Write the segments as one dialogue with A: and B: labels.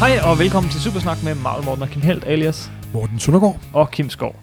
A: Hej og velkommen til Supersnak med Marvel Morten og Kim Helt alias
B: Morten Søndergaard.
A: og Kim Skov.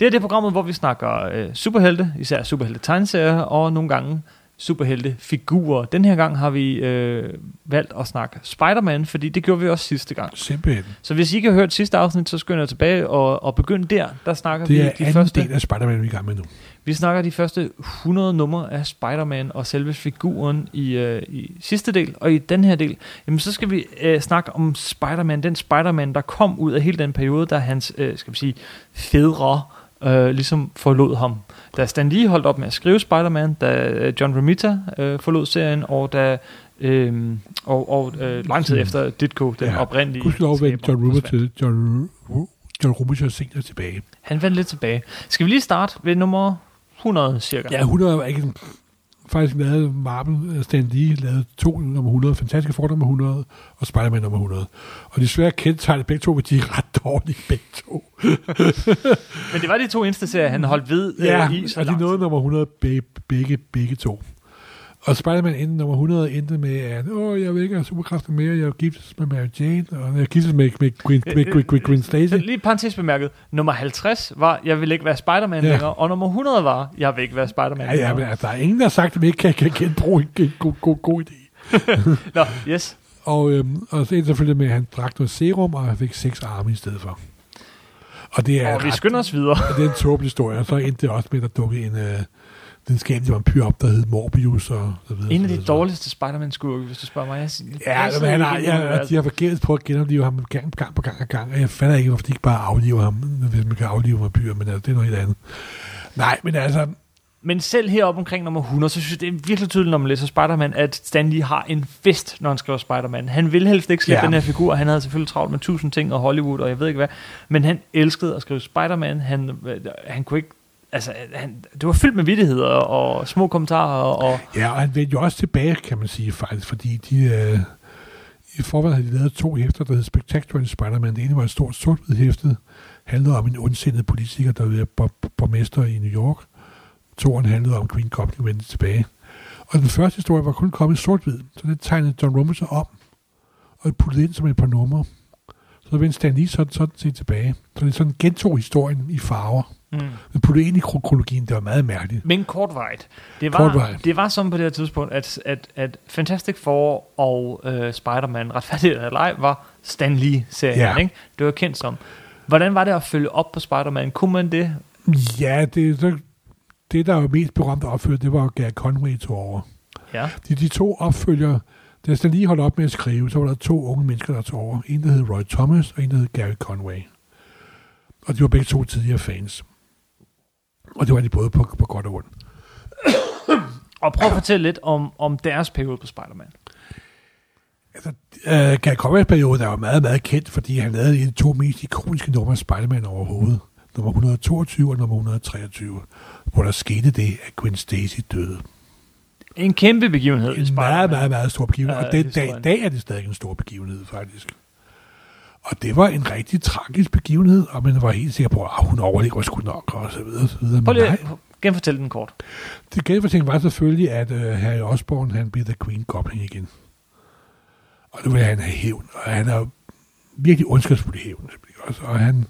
A: Det er det programmet, hvor vi snakker øh, superhelte, især superhelte tegneserier og nogle gange superhelte figurer. Den her gang har vi øh, valgt at snakke Spider-Man, fordi det gjorde vi også sidste gang.
B: Simpelthen.
A: Så hvis I ikke har hørt sidste afsnit, så skynd jer tilbage og, og begynd der. Der snakker
B: Det
A: vi
B: er
A: de
B: anden
A: første
B: del af Spider-Man, vi er i gang med nu.
A: Vi snakker de første 100 numre af Spider-Man og selve figuren i, øh, i sidste del, og i den her del, jamen så skal vi øh, snakke om Spider-Man, den Spider-Man, der kom ud af hele den periode, da hans, øh, skal vi sige, fædre øh, ligesom forlod ham. Da Stan Lee holdt op med at skrive Spider-Man, da øh, John Romita øh, forlod serien, og da Øhm, og, og øh, lang tid efter Ditko, den ja,
B: Ja,
A: oprindelige
B: Gudskelov
A: skaber,
B: vendte John Rubber
A: forsvandt.
B: til John, Ru- John Rubber til senere tilbage.
A: Han vandt lidt tilbage. Skal vi lige starte ved nummer 100 cirka?
B: Ja, 100 er ikke sådan- faktisk lavet Marvel øh, Stan Lee lavede to nummer 100, Fantastiske Four nummer 100 og Spider-Man nummer 100. Og desværre kendetegnet begge to, at de er ret dårlige begge to.
A: Men det var de to eneste serier, han holdt ved
B: Ja,
A: ja, øh, i så
B: og de
A: lang
B: nåede
A: tid.
B: nummer 100 begge, begge, begge to. Og Spider-Man endte nummer 100 endte med, at Åh, jeg vil ikke have superkræfter mere, jeg er giftes med Mary Jane, og jeg er giftes med, med, Green, med, med, med Green Stacy.
A: Lige parentes bemærket, nummer 50 var, jeg vil ikke være Spider-Man
B: Ja.
A: længere, og nummer 100 var, jeg vil ikke være Spider-Man
B: Ja, ja, men
A: længere.
B: altså, der er ingen, der har sagt, at vi ikke kan, kan genbruge en ge- god, god, god idé.
A: Nå, yes.
B: Og, øhm, og så endte selvfølgelig med, at han drak noget serum, og han fik seks arme i stedet for. Og det er,
A: Og vi
B: ret,
A: skynder os videre.
B: det er en tåbelig historie, og så endte det også med, at der dukkede en øh, den skabende vampyr op, der hed Morbius og så videre.
A: En af de
B: så videre, så videre.
A: dårligste Spider-Man-skurke, hvis du spørger mig. Jeg, jeg,
B: Ja, men han har, ja,
A: altså.
B: og de har forgæves på at genopleve ham gang på gang på gang og gang, og jeg fatter ikke, hvorfor de ikke bare afliver ham, hvis man kan aflive vampyrer, men altså, det er noget helt andet. Nej, men altså,
A: Men selv heroppe omkring nummer 100, så synes jeg, det er virkelig tydeligt, når man læser Spider-Man, at Stan Lee har en fest, når han skriver Spider-Man. Han ville helst ikke slippe ja.
B: Ja.
A: den her figur. Han havde selvfølgelig travlt med tusind ting og Hollywood og jeg ved ikke hvad. Men han elskede at skrive Spider-Man. Han, øh, han kunne ikke... Altså, han, det var fyldt med vittigheder og små kommentarer og...
B: Ja, og han vendte jo også tilbage, kan man sige faktisk, fordi de... Øh, I forvejen havde de lavet to hæfter, der hed Spectacular Spider-Man. Det ene var et stort sort hæfte, handlede om en ondsindet politiker, der var bor- borgmester i New York. Toren handlede om Green Goblin vendte tilbage. Og den første historie var kun kommet i sort-hvid, så det tegnede John Romita om og puttede ind som et par numre. Så vendte Stan Lee sådan, sådan set tilbage. Så det sådan gentog historien i farver.
A: Mm.
B: Men puttede ind i kronologien, det var meget mærkeligt.
A: Men kortvarigt. Det var,
B: Kortvarigt.
A: det var sådan på det her tidspunkt, at, at, at Fantastic Four og øh, Spider-Man, retfærdigt eller ej, var Stan Lee-serien.
B: Ja.
A: Ikke? Det var kendt som. Hvordan var det at følge op på Spider-Man? Kunne man det?
B: Ja, det, så, det der er jo mest berømt opfølger, det var jo Gary Conway tog over.
A: Ja.
B: De, de to opfølgere, da Stan lige holdt op med at skrive, så var der to unge mennesker, der tog over. En, der hed Roy Thomas, og en, der hed Gary Conway. Og de var begge to tidligere fans. Og det var de både på, på godt og ondt.
A: Og prøv at fortælle lidt om, om deres periode på Spider-Man.
B: øh, Gary Conways periode er jo meget, meget kendt, fordi han lavede en af de to mest ikoniske numre af Spider-Man overhovedet. Nummer 122 og nummer 123, hvor der skete det, at Gwen Stacy døde.
A: En kæmpe begivenhed i
B: en meget,
A: Spider-Man.
B: meget, meget stor begivenhed.
A: Ja,
B: og den dag,
A: historien.
B: dag er det stadig en stor begivenhed, faktisk. Og det var en rigtig tragisk begivenhed, og man var helt sikker på, at hun overlever sgu nok, og så videre, og så videre.
A: Prøv
B: Men
A: lige
B: nej,
A: at genfortælle den kort.
B: det genfortælling var selvfølgelig, at øh, Harry Osborn, han blev The Green Goblin igen. Og nu vil han have hævn, og han er jo virkelig ondskabsfuld i hævn. selvfølgelig også. Og, han,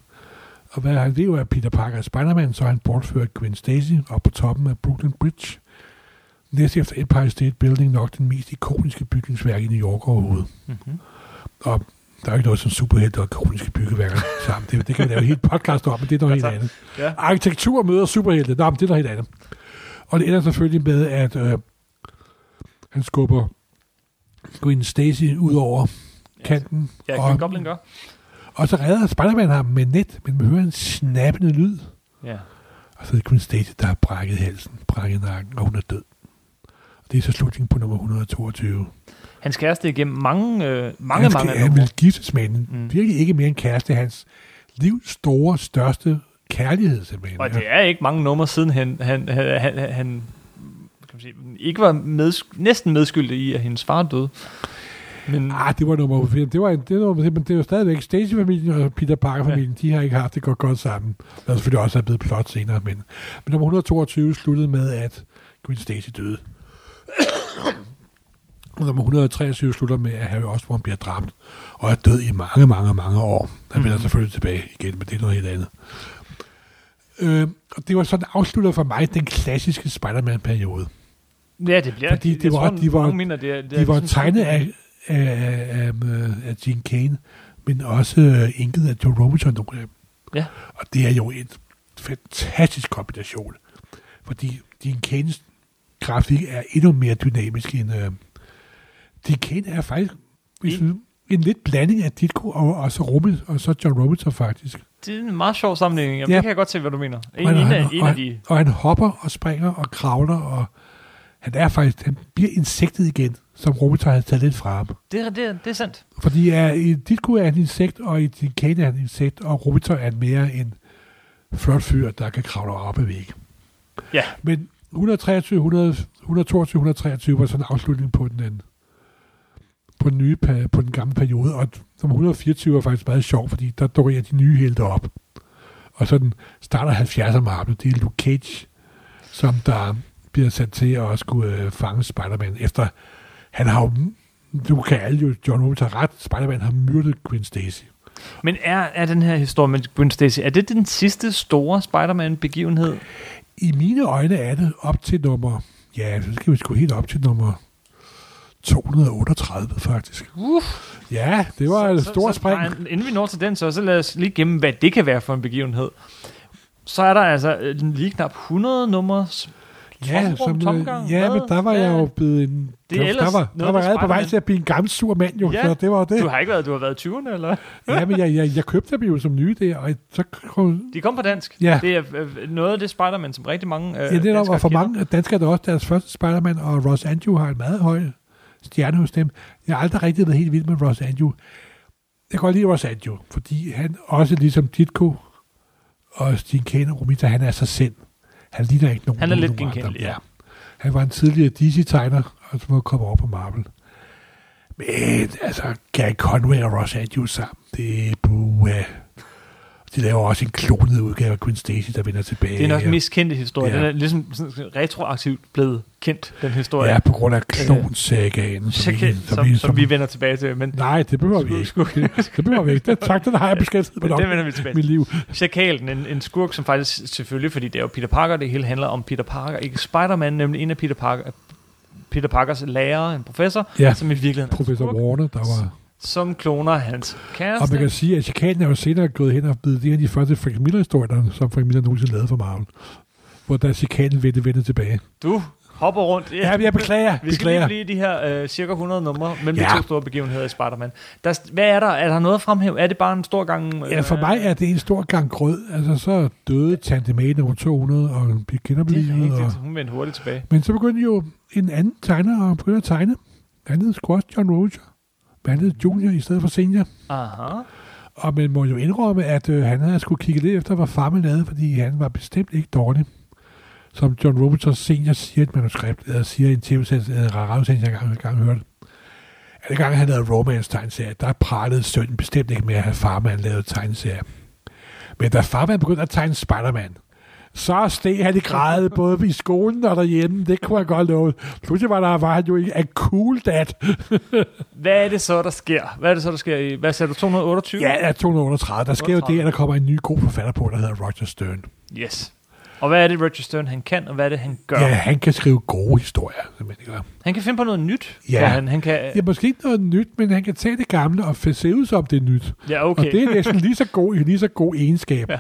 B: og hvad han ved jo, at Peter Parker er Spider-Man, så han bortfører Gwen Stacy op på toppen af Brooklyn Bridge. Næst efter Empire State Building, nok den mest ikoniske bygningsværk i New York overhovedet.
A: Mm-hmm.
B: Og der er jo ikke noget som superhelte og ikoniske byggeværker sammen. Det, det kan vi lave et helt podcast om, men det er noget helt
A: Altså,
B: andet.
A: Ja.
B: Arkitektur møder superhelte. Nå, men det er noget helt andet. Og det ender selvfølgelig med, at øh, han skubber Gwen Stacy ud over kanten.
A: Ja,
B: og,
A: Green Goblin gør.
B: og så redder Spider-Man ham med net, men man hører en snappende lyd.
A: Ja.
B: Og så er det Gwen Stacy, der har brækket halsen, brækket nakken, og hun er død. Og det er så slutningen på nummer 122.
A: Hans kæreste igennem mange, øh, mange,
B: han
A: mange
B: han
A: numre.
B: ville giftes med hende.
A: Mm.
B: Mm. Virkelig ikke mere en kæreste. Hans livs store, største kærlighed, simpelthen.
A: Og det er ikke mange numre siden han, han, han, han, han kan man sige, ikke var med, næsten medskyldig i, at hendes far døde. Men
B: Ah, det var nummer 5. Det var, en, det var, nummer fem, men det er jo stadigvæk Stacy-familien og Peter Parker-familien. Ja. De har ikke haft det godt, godt sammen. Der er selvfølgelig også er blevet plot senere, men, men nummer 122 sluttede med, at Gwen Stacy døde. Og nummer 123 slutter med, at Harry Osborn bliver dræbt og er død i mange, mange, mange år. Han vender
A: Mhm.
B: selvfølgelig tilbage igen, men det er noget helt andet. Øh, og det var sådan afslutter for mig den klassiske Spider-Man-periode.
A: Ja, det bliver...
B: Fordi det
A: jeg
B: var-
A: tror,
B: de var-
A: mange mener, det er, det er
B: De var
A: ligesom-
B: tegnet af, af, af, af, af Gene Kane, men også øh, inket af Joe Robinson. nogle af dem.
A: Ja.
B: Og det er jo en fantastisk kombination, fordi Gene Kanes grafik er endnu mere dynamisk end... Øh, Gene Kane er faktisk hvis
A: En-
B: du, en lidt blanding af Ditko og, og, så Robin, og så John Robinson faktisk.
A: Det er en meget sjov sammenligning. Jamen,
B: Ja.
A: Det kan jeg godt se, hvad du mener. En,
B: Og
A: en,
B: han-
A: af, en af
B: og-
A: de...
B: Og han hopper og springer og kravler, og han er faktisk, han bliver insektet igen, som Robinson havde taget lidt fra ham.
A: Det, er- det, er- det er sandt.
B: Fordi er, i Ditko er en insekt, og i din kane er en insekt, og Robinson er mere en flot fyr, der kan kravle op ad væg.
A: Ja.
B: Men 123, 100, 122, 123 var sådan en afslutning på den, den på den, nye, pe- på den gamle periode, og som 124 er faktisk meget sjov, fordi der dukker jeg de nye helte op. Og sådan starter 70'er marmen, det er Luke Cage, som der bliver sat til at skulle øh, fange Spider-Man, efter han har jo nu kan alle jo, John Holmes har ret, Spider-Man har myrdet Gwen Stacy.
A: Men er, er den her historie med Gwen Stacy, er det den sidste store Spider-Man-begivenhed?
B: I mine øjne er det op til nummer, ja, så skal vi sgu helt op til nummer 238 faktisk.
A: Uff,
B: Ja, det var et stort spring.
A: nej, inden vi når til den, så, så lad os lige gemme, hvad det kan være for en begivenhed. Så er der altså øh, lige knap 100 numre.
B: Ja, øh,
A: Tom- tomgang,
B: ja,
A: hvad?
B: men der var
A: Hvad?
B: jeg jo blevet en...
A: Det er
B: der,
A: ellers
B: der var, der
A: noget
B: var
A: med
B: jeg på vej
A: Spider-Man.
B: til at blive en gammel sur mand, jo,
A: Ja,
B: så det var det.
A: Du har ikke været, du har været i 20'erne, eller?
B: ja, men jeg, jeg, jeg købte dem jo som nye der, og så kom,
A: De kom på dansk.
B: Ja.
A: Det er øh, noget af det Spider-Man, som rigtig mange øh,
B: Ja, det er der,
A: danskere
B: og for
A: kender.
B: mange danskere er det også deres første Spider-Man, og Ross Andrew har en meget høj stjerne hos dem. Jeg har aldrig rigtig været helt vild med Ross Andrew. Jeg kan godt lide Ross Andrew, fordi han også ligesom Ditko og Gene Kane og Romita, han er sig selv. Han ligner ikke nogen
A: Han er lidt
B: nogen andre.
A: genkendelig, ja.
B: Han var en tidligere DC-tegner, og så var kommet over på Marvel. Men altså, Gary Conway og Ross Andrew sammen, det er buha. De laver også en klonet udgave af Gwen Stacy, der vender tilbage.
A: Det er nok
B: og-
A: den mest kendte historie.
B: Ja.
A: Den er ligesom sådan retroaktivt blevet kendt, den historie.
B: Ja, på grund af klonsagaen,
A: som, som, Øh, som, som, vi vender tilbage til. Men
B: Nej, det behøver vi ikke. Det behøver vi ikke. Det, tak, den har jeg beskæftiget mig nok
A: det vender vi
B: i
A: tilbage
B: mit
A: til.
B: liv.
A: Chakalen, en, en skurk, som faktisk selvfølgelig, fordi det er jo Peter Parker, det hele handler om Peter Parker, ikke Spider-Man, nemlig en af Peter, Parker, Peter Parkers lærere, en professor,
B: Ja,
A: som i virkeligheden er en
B: professor
A: skurk,
B: Warner, der var...
A: som kloner hans
B: Og man
A: kæreste.
B: kan sige, at chikanen er jo senere gået hen og blevet en af de første Frank Miller-historier, som Frank Miller nogensinde lavede for Marvel. Hvor der chikanen vendte, vendte tilbage.
A: Du hopper rundt.
B: Ja, jeg beklager.
A: Vi skal lige
B: beklager.
A: blive i de her øh, cirka 100 numre mellem
B: Ja.
A: de to store begivenheder i Spider-Man. Der, er st- hvad er der? Er der noget at fremhæve? Er det bare en stor gang? Øh,
B: Ja, for mig er det en stor gang grød. Altså, så døde Tante May nummer 200, og hun blev
A: det er
B: genoplivet. Og...
A: rigtigt. Hun vendte hurtigt tilbage.
B: Men så begyndte jo en anden tegner at begynde at tegne. Han hed sgu også John Roger. Men han hed Junior i stedet for Senior.
A: Aha.
B: Og man må jo indrømme, at øh, han havde skulle kigge lidt efter, hvad farmen lavede, fordi han var bestemt ikke dårlig. Som John Robertson senior siger i et manuskript, eller siger i en tv-sendelse, eller radiosendelse, jeg engang, engang hørte. At det gang han lavede romance tegneserie, der pralede sønnen bestemt ikke med at have farmand lavet tegneserie. Men da farmand begyndte at tegne Spider-Man, så steg han i grad både i skolen og derhjemme. Det kunne jeg godt love. Pludselig var, der, var han jo en cool dad.
A: Hvad er det så, der sker? Hvad er det så, der sker i... Hvad sagde du? 228?
B: Ja, ja, 238. Der sker jo
A: 38.
B: det, at der kommer en ny god forfatter på, der hedder Roger Stern.
A: Yes. Og hvad er det, Roger Stern han kan, og hvad er det, han gør?
B: Ja, han kan skrive gode historier, simpelthen. ikke?
A: Han kan finde på noget nyt.
B: Ja.
A: hvor Han, han kan,
B: Det er måske ikke noget nyt, men han kan tage det gamle og f- se ud som det er nyt.
A: ja,
B: Okay.
A: okay.
B: Og det er næsten lige så god, lige så god egenskab.
A: Ja.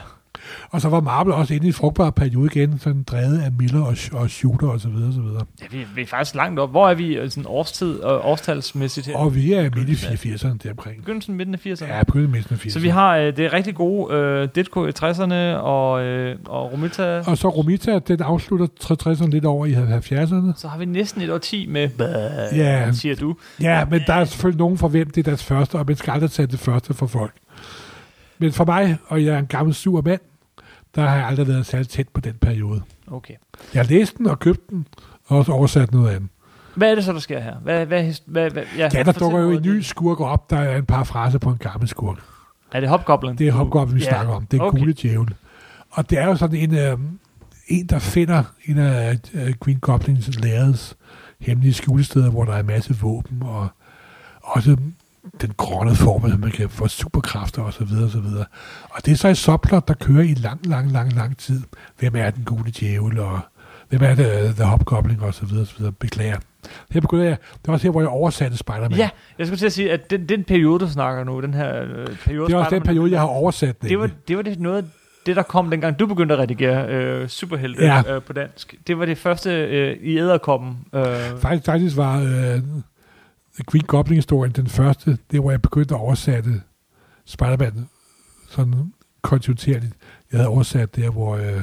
B: Og så var Marvel også inde i en frugtbar periode igen, sådan drevet af Miller og, og Shooter og så videre, og så videre.
A: ja, vi, vi er faktisk langt op. Hvor er vi øh, sådan årstid og årstalsmæssigt her?
B: Og vi er midt i 80'erne deromkring.
A: Begyndelsen, midten af 80'erne.
B: Ja, begyndt midten af 80'erne.
A: Så vi har øh, det rigtig gode øh, Ditko i 60'erne og, øh, og Romita.
B: Og så Romita, den afslutter 60'erne lidt over i 70'erne.
A: Så har vi næsten et årti med, hvad
B: Ja.
A: siger du?
B: Ja, men der er selvfølgelig nogen for hvem det er deres første, og man skal aldrig tage det første for folk. Men for mig, og jeg er en gammel sur mand, der har jeg aldrig været særlig tæt på den periode.
A: Okay.
B: Jeg læste den og købte den, og også oversat noget andet.
A: Hvad er det så, der sker her? Hvad, hvad, his- hvad, hvad,
B: Ja, der
A: fortæl
B: dukker jo
A: noget
B: en
A: af
B: ny
A: det.
B: skurk op, der er en par fraser på en gammel skurk.
A: Er det Hobgoblin?
B: Det er Hopgoblin, vi
A: Ja,
B: snakker om. Det er
A: okay.
B: okay. gule djævel. Og det er jo sådan en, øh, en der finder en af øh, Green Goblins lærers hemmelige skjulesteder, hvor der er en masse våben, og også den grønne form, at man kan få superkræfter osv. Og, så videre, og, så videre. og det er så et subplot, der kører i lang, lang, lang, lang tid. Hvem er den gode djævel, og hvem er det, øh, The Hobgoblin, og så videre, og så videre. Beklager. Her begynder jeg, det var også her, hvor jeg oversatte Spider-Man.
A: Ja, jeg skulle til at sige, at den, den periode, du snakker nu, den her øh, periode...
B: Det er også den
A: Spider-Man-
B: periode, jeg har oversat
A: Det var, det var det noget, det der kom dengang du begyndte at redigere øh, Superhelte ja.
B: Ja.
A: øh, på dansk. Det var det første øh, i Æderkoppen. Øh,
B: Faktisk, faktisk var øh, Green Goblin-historien den første, det hvor jeg begyndte at oversætte Spider-Man sådan kontinuerligt. Jeg havde oversat der, hvor øh,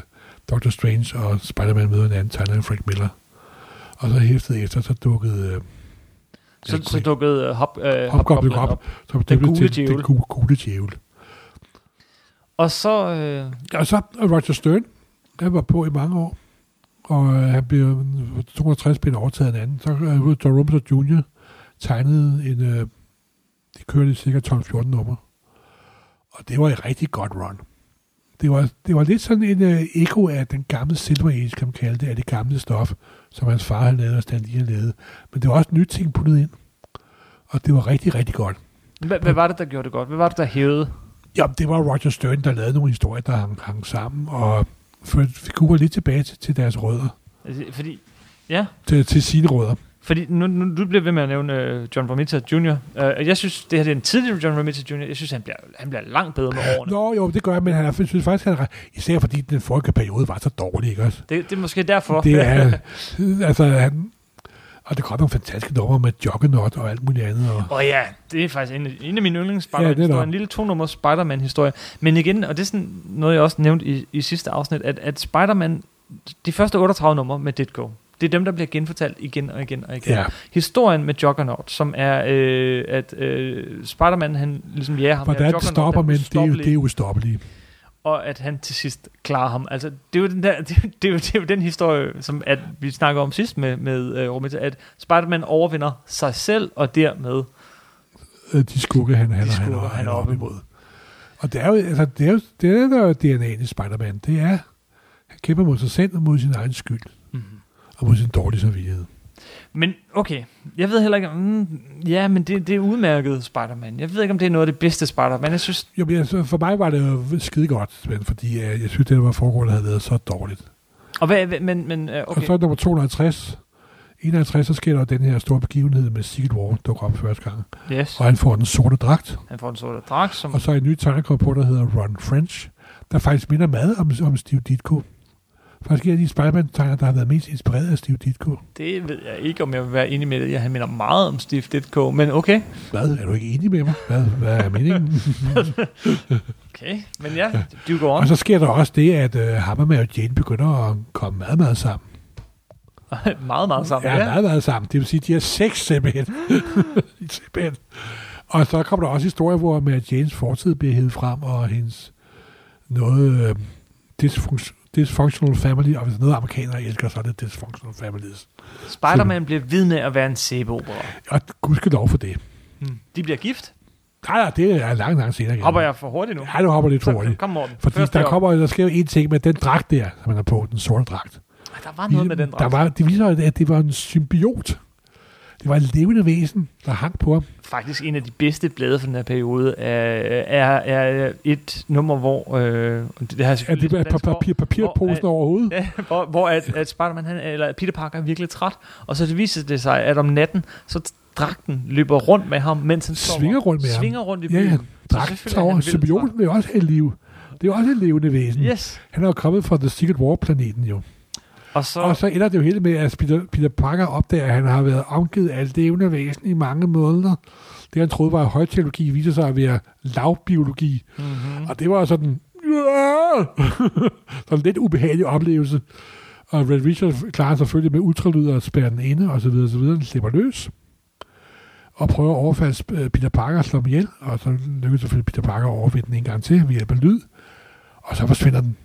B: Doctor Strange og Spider-Man møder en anden tegner, Frank Miller. Og så hæftet efter, så dukkede øh,
A: så,
B: Ja,
A: så dukkede øh, hop, øh,
B: Hopgoblin
A: Hopgoblin
B: op,
A: op.
B: så det blev
A: gule
B: til
A: djævel.
B: den gule, gule djævel.
A: Og så... Øh,
B: Og så Roger Stern, han var på i mange år, og øh, han blev 260 blev overtaget af en anden. Så øh, John Robinson Jr. tegnede en, øh, det kørte i cirka 12-14 nummer. Og det var et rigtig godt run. Det var, det var lidt sådan en øh, ekko af den gamle Silver Age, kan man kalde det, af det gamle stof, som hans far havde lavet og Stan Lee havde lavet. Men det var også nye ting puttet ind. Og det var rigtig, rigtig godt.
A: hvad, hvad var det, der gjorde det godt? Hvad var det, der hævede?
B: Ja, det var Roger Stern, der lavede nogle historier, der hang, hang sammen, og førte figurer lidt tilbage til, til deres rødder,
A: Altså, Fordi, ja,
B: til, til sine rødder.
A: fordi nu, nu du bliver ved med at nævne øh, John Romita Jr. Øh, jeg synes, det her det er en tidlig John Romita Jr. Jeg synes, han bliver, han bliver langt bedre med årene.
B: Nå, jo, det gør jeg, men han er, synes faktisk, han er, ret- især fordi den forrige periode var så dårlig, ikke også?
A: Det, det er måske derfor.
B: Det er, altså, han, og der kom nogle fantastiske numre med Juggernaut og alt muligt andet, og
A: Åh oh ja, det er faktisk en af, en af mine
B: Ja, det er
A: yndlingsspider-man-historier.
B: der.
A: en lille to-nummer Spider-Man-historie. Men igen, og det er sådan noget, jeg også nævnte i, i sidste afsnit, at, at Spider-Man, de første 38 numre med Ditko, det er dem, der bliver genfortalt igen og igen og igen.
B: ja,
A: Historien med Juggernaut, som er, øh, at øh, Spider-Man, han ligesom jager ham. her.
B: hvordan det
A: Juggernaut,
B: stopper,
A: den
B: men det er, jo,
A: ustoppelige,
B: det er ustoppeligt.
A: Og at han til sidst klarer ham. Altså, det er jo den, der, det, er jo- det er jo, det er jo den historie, som at vi snakker om sidst med, med øh, Romita, at Spider-Man overvinder sig selv, og dermed
B: øh, de skurke, han, han,
A: De
B: han,
A: skurke,
B: han,
A: han
B: han
A: er
B: er
A: oppe
B: op imod. Og det er jo, altså, det er jo det er der er DNA'en i Spider-Man. Det er, han kæmper mod sig selv og mod sin egen skyld.
A: Mhm.
B: Mm-hmm. Og mod sin dårlige samvittighed.
A: Men okay, jeg ved heller ikke, om- mm, ja, men det, det er udmærket Spider-Man. Jeg ved ikke, om det er noget af det bedste Spider-Man. Jeg synes,
B: Jo, men altså, for mig var det jo skide godt, Svend, fordi øh, jeg synes, det der var foregående havde været så dårligt. Okay.
A: og hvad, hvad- men, men øh,
B: Og
A: okay.
B: så nummer 250, 51, så sker der jo den her store begivenhed med Secret War, der dukker op første gang.
A: Yes,
B: Og han får den sorte dragt,
A: han får en sort dragt, som...
B: og så en ny tegnekom på, der hedder Ron French, der faktisk minder meget om, om Steve Ditko. Faktisk er en af de Spider-Man-tegner, der har været mest inspireret af Steve Ditko.
A: Det ved jeg ikke, om jeg vil være enig med det. Jeg han minder meget om Steve Ditko, men okay.
B: Hvad? Er du ikke enig med mig? Hvad, hvad er meningen?
A: Okay, men ja, du går on.
B: og så sker der også det, at øh, Hammerman og Jane begynder at komme meget, meget sammen.
A: meget, meget sammen.
B: Ja,
A: Ja,
B: meget, meget sammen. Det vil sige, at de er seks simpelthen. simpelthen. Og så kommer der også historier, hvor med at Janes fortid bliver hævet frem, og hendes noget øh, dysfunks- dysfunctional family, og hvis noget amerikanere elsker, så er det dysfunctional families.
A: Spider-Man bliver ved med at være en sæbeopera.
B: Og gudskelov for det.
A: Hmm. De bliver gift.
B: Nej, nej, det er langt, langt senere. igen.
A: Hopper jeg for hurtigt nu?
B: Ja, du hopper lidt for
A: Så,
B: hurtigt.
A: kom, Morten.
B: Fordi
A: Første
B: der
A: år.
B: kommer, der sker jo en ting med den dragt der, som man har på, den sorte dragt. Ligesom
A: Ej, Der var noget med den
B: Der
A: dragt.
B: var, det viser, at det var en symbiot. Det var et levende væsen, der hang på ham.
A: faktisk en af de bedste blade fra den her periode er, er, er et nummer, hvor... Øh, og det, det har jeg
B: At
A: selvfølgelig
B: det var
A: læst på
B: pa-
A: dansk, hvor-
B: papir, papirposen
A: hvor- øh,
B: overhovedet.
A: Ja, hvor, hvor at, at Spider-Man, han, eller Peter Parker er virkelig træt, og så viser det sig, at om natten, så dragten løber rundt med ham, mens han sover.
B: Svinger rundt med ham.
A: Svinger rundt i
B: Ja,
A: byen.
B: ja.
A: Så
B: Dragt
A: selvfølgelig er
B: tager
A: han
B: over.
A: vildt
B: Symbioten vil jo også have liv. Det er jo også et levende væsen.
A: træt. Yes.
B: Han er jo kommet fra The Secret War-planeten jo.
A: Og så,
B: Og så ender det jo hele med, at Peter, Peter Parker opdager, at han har været omgivet af et levende væsen i mange måneder. Det, han troede var højteknologi, viser sig at være lavbiologi.
A: mm-hmm.
B: Og det var sådan, "Ja!" sådan en lidt ubehagelig oplevelse. Og Red Richard klarer sig selvfølgelig med ultralyd og spærrer den inde, og så videre, og så videre. Den slipper løs. Og prøver at overfalde sp- øh, Peter Parker og slå ham ihjel. Og så lykkes selvfølgelig Peter Parker at overvinde den en gang til ved hjælp af lyd. Og så forsvinder den.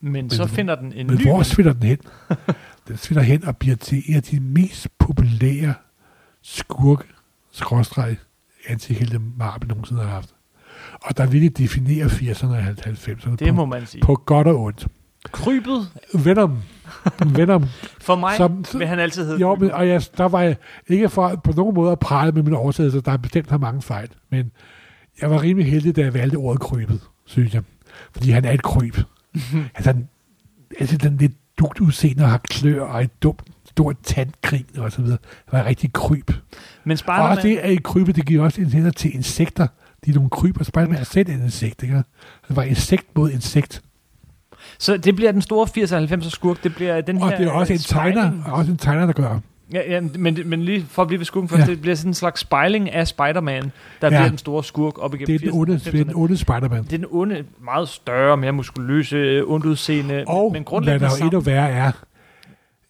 A: men så finder den en
B: Men
A: ny...
B: hvor svinder den hen? den svinder hen og bliver til en af de mest populære skurk skråstreg antihelte Marvel nogensinde har haft. Og der vil det definere 80'erne og 90'erne
A: Det
B: på
A: må man sige.
B: på godt og ondt.
A: Krybet
B: Venom, Venom,
A: For mig
B: som,
A: vil han altid hedde
B: jo,
A: Gylden.
B: men, og jeg, der var jeg ikke for, på nogen måde at prale med min oversættelse, der er bestemt har mange fejl, men jeg var rimelig heldig, da jeg valgte ordet krybet, synes jeg. Fordi han er et kryb. altså, han, altså den lidt dugt udseende og har klør og et dumt, stort tandgrin og så videre. Han var et rigtig kryb.
A: Men
B: Og
A: Spider-Man,
B: også det er i krybet, det giver også en hænder til insekter. De er nogle kryber. Spider-Man er selv en insekt, ikke? Han var insekt mod insekt.
A: så det bliver den store 80'er-90'er skurk, det bliver den
B: Og
A: her...
B: det er også
A: øh,
B: en tegner,
A: spejling.
B: og også en tegner, der gør
A: Ja, ja men, det- men lige for at blive ved skurken først,
B: Ja.
A: det bliver sådan en slags spejling af Spider-Man, der
B: Ja.
A: bliver den store skurk op
B: det. er
A: igennem
B: den onde,
A: 80'erne.
B: det er den onde Spider-Man.
A: Det er den onde, meget større, mere muskuløse, ondt udseende,
B: Og
A: men
B: hvad
A: grundlæggende
B: der jo
A: samme.
B: endnu værre er,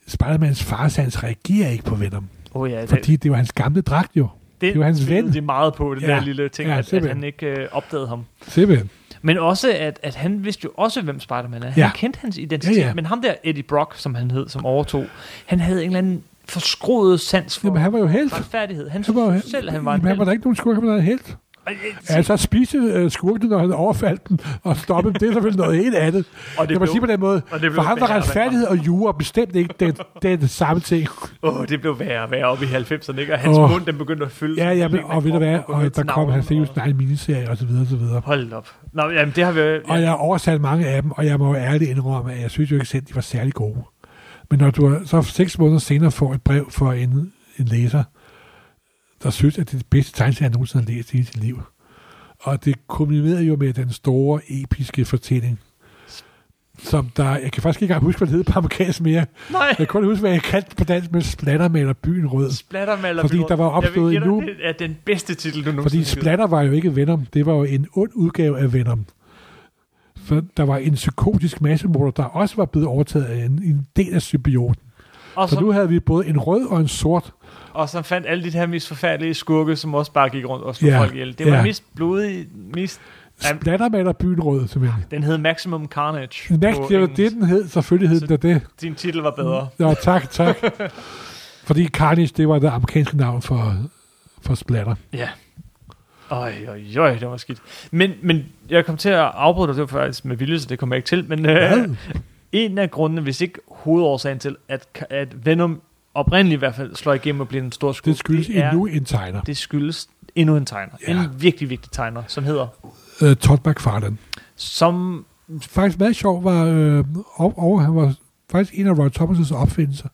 B: Spider-Mans farsans reagerer ikke på Venom.
A: Åh ja, det,
B: Fordi det var hans gamle dragt jo. det var hans
A: Altså- spillede
B: ven.
A: de meget på, den ja.
B: Ja,
A: der lille ting,
B: ja,
A: ja, at, at
B: simpelthen.
A: han ikke øh, opdagede ham.
B: Simpelthen.
A: Men også, at, at han vidste jo også, hvem Spider-Man er. Han
B: Ja.
A: kendte hans identitet, ja,
B: Ja,
A: ja.
B: ja.
A: men ham der, Eddie Brock, som han hed, som overtog, han havde en eller anden forskroet sans for
B: Jamen,
A: Jamen,
B: han var jo helt.
A: retfærdighed. Han
B: Han var jo
A: synes
B: helt.
A: selv, at han var en
B: Jamen, han var
A: helt.
B: der ikke nogen skurk, han var helt.
A: Og, øh,
B: Altså, at spise øh, skurken, når han overfaldt den og stoppede dem, det er selvfølgelig noget helt andet.
A: Og det
B: jeg må
A: blev-
B: sige på den måde,
A: og det blev
B: for ham var
A: værre og
B: retfærdighed og jura bestemt ikke den, den samme ting.
A: Åh, det blev værre og værre oppe i 90'erne, ikke? Og hans
B: Åh.
A: mund, den begyndte at fylde.
B: Ja,
A: sådan
B: ja,
A: lidt
B: men,
A: med
B: og ved du
A: krop
B: hvad,
A: og gå ned
B: og der
A: til
B: kom
A: navnet
B: han fik jo sin
A: og-
B: egen miniserie og så videre, og så videre.
A: Hold op. Nå, jamen, det har vi jo...
B: Og jeg har oversat mange af dem, og jeg må jo ærligt indrømme, at jeg synes jo ikke selv, de var særlig gode. Men når du er- så seks måneder senere får et brev fra en, en læser, der synes, at det er det bedste tegneserie, han nogensinde har læst i hele sit liv. Og det kombinerer jo med den store, episke fortælling, som der, jeg kan faktisk ikke engang huske, hvad det hedder på amerikansk mere.
A: Nej!
B: Jeg kan kun huske, hvad jeg kaldte på dansk med Splattermaler Byen Rød.
A: Splattermaler
B: Fordi der var opstået
A: nu...
B: nu-
A: Det er den bedste titel, du nogensinde
B: Fordi
A: har givet.
B: Splatter var jo ikke Venom. Det var jo en ond udgave af Venom. For der var en psykotisk massemorder, der også var blevet overtaget af en, en del af symbioten.
A: Og
B: Så
A: så,
B: nu havde vi både en rød og en sort.
A: og så fandt alle de her mest forfærdelige skurke, som også bare gik rundt og slog
B: Ja,
A: folk ihjel. Det var
B: ja.
A: den mest blodige, mest... Jamen.
B: Splatter maler byen rød, simpelthen.
A: Den hed Maximum Carnage.
B: Max,
A: på
B: det var
A: engelsk.
B: det, den hed. Selvfølgelig hed den da det.
A: Din titel var bedre.
B: Ja, tak, tak. Fordi Carnage, det var det amerikanske navn for, for Splatter.
A: Ja. Øj, øj, øj, det var skidt. Men, men jeg kom til at afbryde dig, det var faktisk med vilje, så det kom jeg ikke til. Men øh,
B: Hvad?
A: en af grundene, hvis ikke hovedårsagen til, at, at Venom oprindeligt i hvert fald slår igennem og bliver en stor skurk,
B: Det skyldes endnu en tegner.
A: det skyldes endnu en tegner.
B: Ja.
A: En virkelig vigtig tegner, som hedder...
B: Øh, Todd McFarlane.
A: Som...
B: Faktisk meget sjov var, øh, over, over, han var faktisk en af Roy Thomas' opfindelser.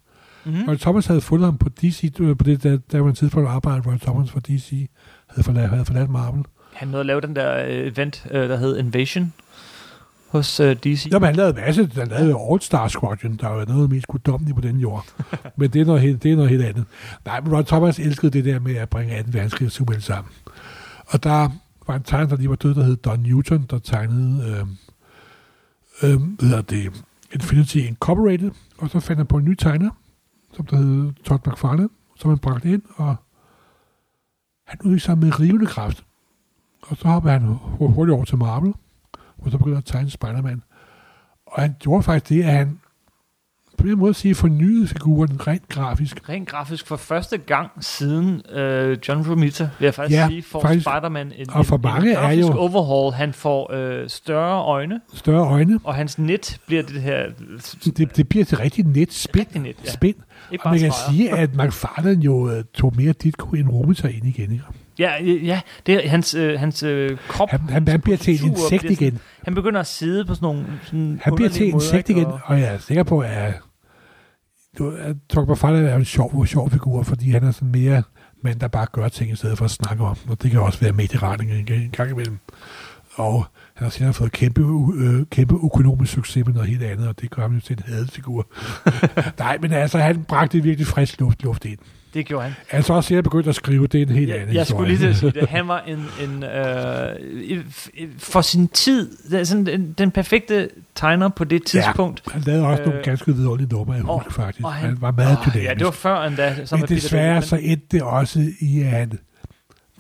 A: Mm-hmm.
B: Roy Thomas havde fundet ham på DC, du ved, på det, der, der var en tidspunkt, hvor arbejdede Roy Thomas for DC, havde forladt, havde forladt Marvel.
A: Han nåede at lave den der øh, event, øh, der hed Invasion hos øh, DC.
B: Jamen, han lavede en masse, han lavede All Star Squadron, der var noget af det mest guddommelige på den jord. men det er, noget helt, det er noget helt andet. Nej, men Roy Thomas elskede det der med at bringe 2. verdenskrig og Superman sammen. Og der var en tegner, der lige var død, der hed Don Newton, der tegnede, øh, øh, hvad hedder det, Infinity Incorporated, og så fandt han på en ny tegner, som der hed Todd McFarlane, som han bragte ind, og han udviklede sig med rivende kraft. Og så hoppede han hu- hurtigt over til Marvel, og så begyndte han at tegne Spider-Man. Og han gjorde faktisk det, at han på en måde at sige fornyede figuren rent grafisk.
A: Rent grafisk for første gang siden øh, John Romita, vil jeg faktisk ja,
B: Ja,
A: sige, får
B: faktisk.
A: Spider-Man en,
B: Og for
A: en,
B: mange
A: en
B: er
A: grafisk
B: jo-
A: overhaul. Han får øh, større øjne,
B: Større øjne.
A: og hans net bliver det her... øh, s-
B: Det, det bliver til rigtig net spin.
A: Rigtig net, ja.
B: Spin.
A: Ikke
B: Og
A: bare
B: man kan
A: streger.
B: sige, at McFarlane jo øh, tog mere Ditko end Romita ind igen. Ikke?
A: Ja, ja, ja, det er hans, øh, hans øh, krop.
B: Han, han, han bliver til et
A: kultur
B: insekt
A: bliver sådan-
B: igen.
A: Han begynder at sidde på sådan nogle sådan
B: Han bliver
A: underlige
B: til et
A: måder,
B: insekt
A: ikke?
B: igen,
A: Og-
B: og jeg er sikker på, at, du- at Torben Farland er en sjov, sjov figur, fordi han er sådan mere mand, der bare gør ting, i stedet for at snakke om dem, og det kan også være medieretning en gang- en gang imellem. Og han har senere fået kæmpe, u- øh, kæmpe økonomisk succes med noget helt andet, og det gør ham jo til en hadet figur. Nej, men altså, han bragte virkelig frisk luft, luft ind.
A: Det gjorde han.
B: Altså også senere begyndt at skrive, det er en helt anden
A: Jeg, jeg
B: historie.
A: skulle lige til at sige det. Han var en, en øh, i- f- for sin tid, det er sådan, den, den perfekte tegner på det
B: Ja.
A: tidspunkt.
B: Han lavede også nogle
A: Øh,
B: ganske vidunderlige numre af Hulk,
A: og-
B: faktisk.
A: og han-
B: han, var meget
A: Åh,
B: dynamisk.
A: Ah, ja, det var før endda. Som
B: Men desværre så endte det også i, at han-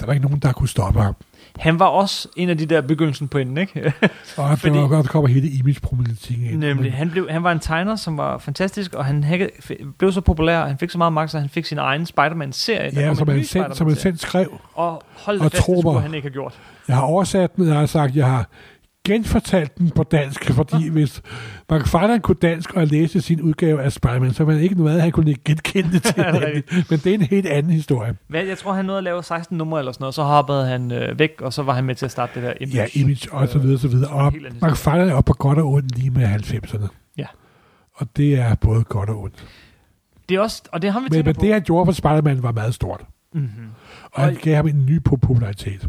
B: der var ikke nogen, der kunne stoppe ham.
A: Han var også en af de der begyndelsen på enden, ikke?
B: Og
A: Fordi-
B: Fordi... der, var, der kommer hele image-problematikken ind.
A: Nemlig. Han, blev, han var en tegner, som var fantastisk, og han hækkede, f- blev så populær, og han fik så meget magt, så han fik sin egen Spider-Man-serie. Der
B: Ja,
A: kom
B: som
A: en ny
B: han, selv, som han
A: Spider-Man-serie.
B: selv skrev.
A: Og hold da
B: og
A: fast, det
B: tro
A: skulle
B: mig.
A: han ikke have gjort.
B: Jeg har oversat den, og jeg har sagt, jeg har genfortalt den på dansk, fordi hvis McFarlane kunne dansk og læse sin udgave af Spider-Man, så var det ikke noget, han kunne genkende det til.
A: Ja, det er
B: det Men det er en helt anden historie.
A: Hvad, jeg tror, han nåede at lave 16 numre eller sådan noget, så hoppede han øh, væk, og så var han med til at starte det der image.
B: Ja, image og så videre, så videre. Og
A: Helt anden
B: McFarlane er op på godt og ondt lige med 90'erne.
A: Ja.
B: Og det er både godt og ondt.
A: Det er også, og det har vi
B: Men,
A: tænker
B: men
A: på.
B: det, han gjorde for Spider-Man, var meget stort.
A: mm-hmm.
B: Og han
A: Og-
B: gav ham en ny popularitet.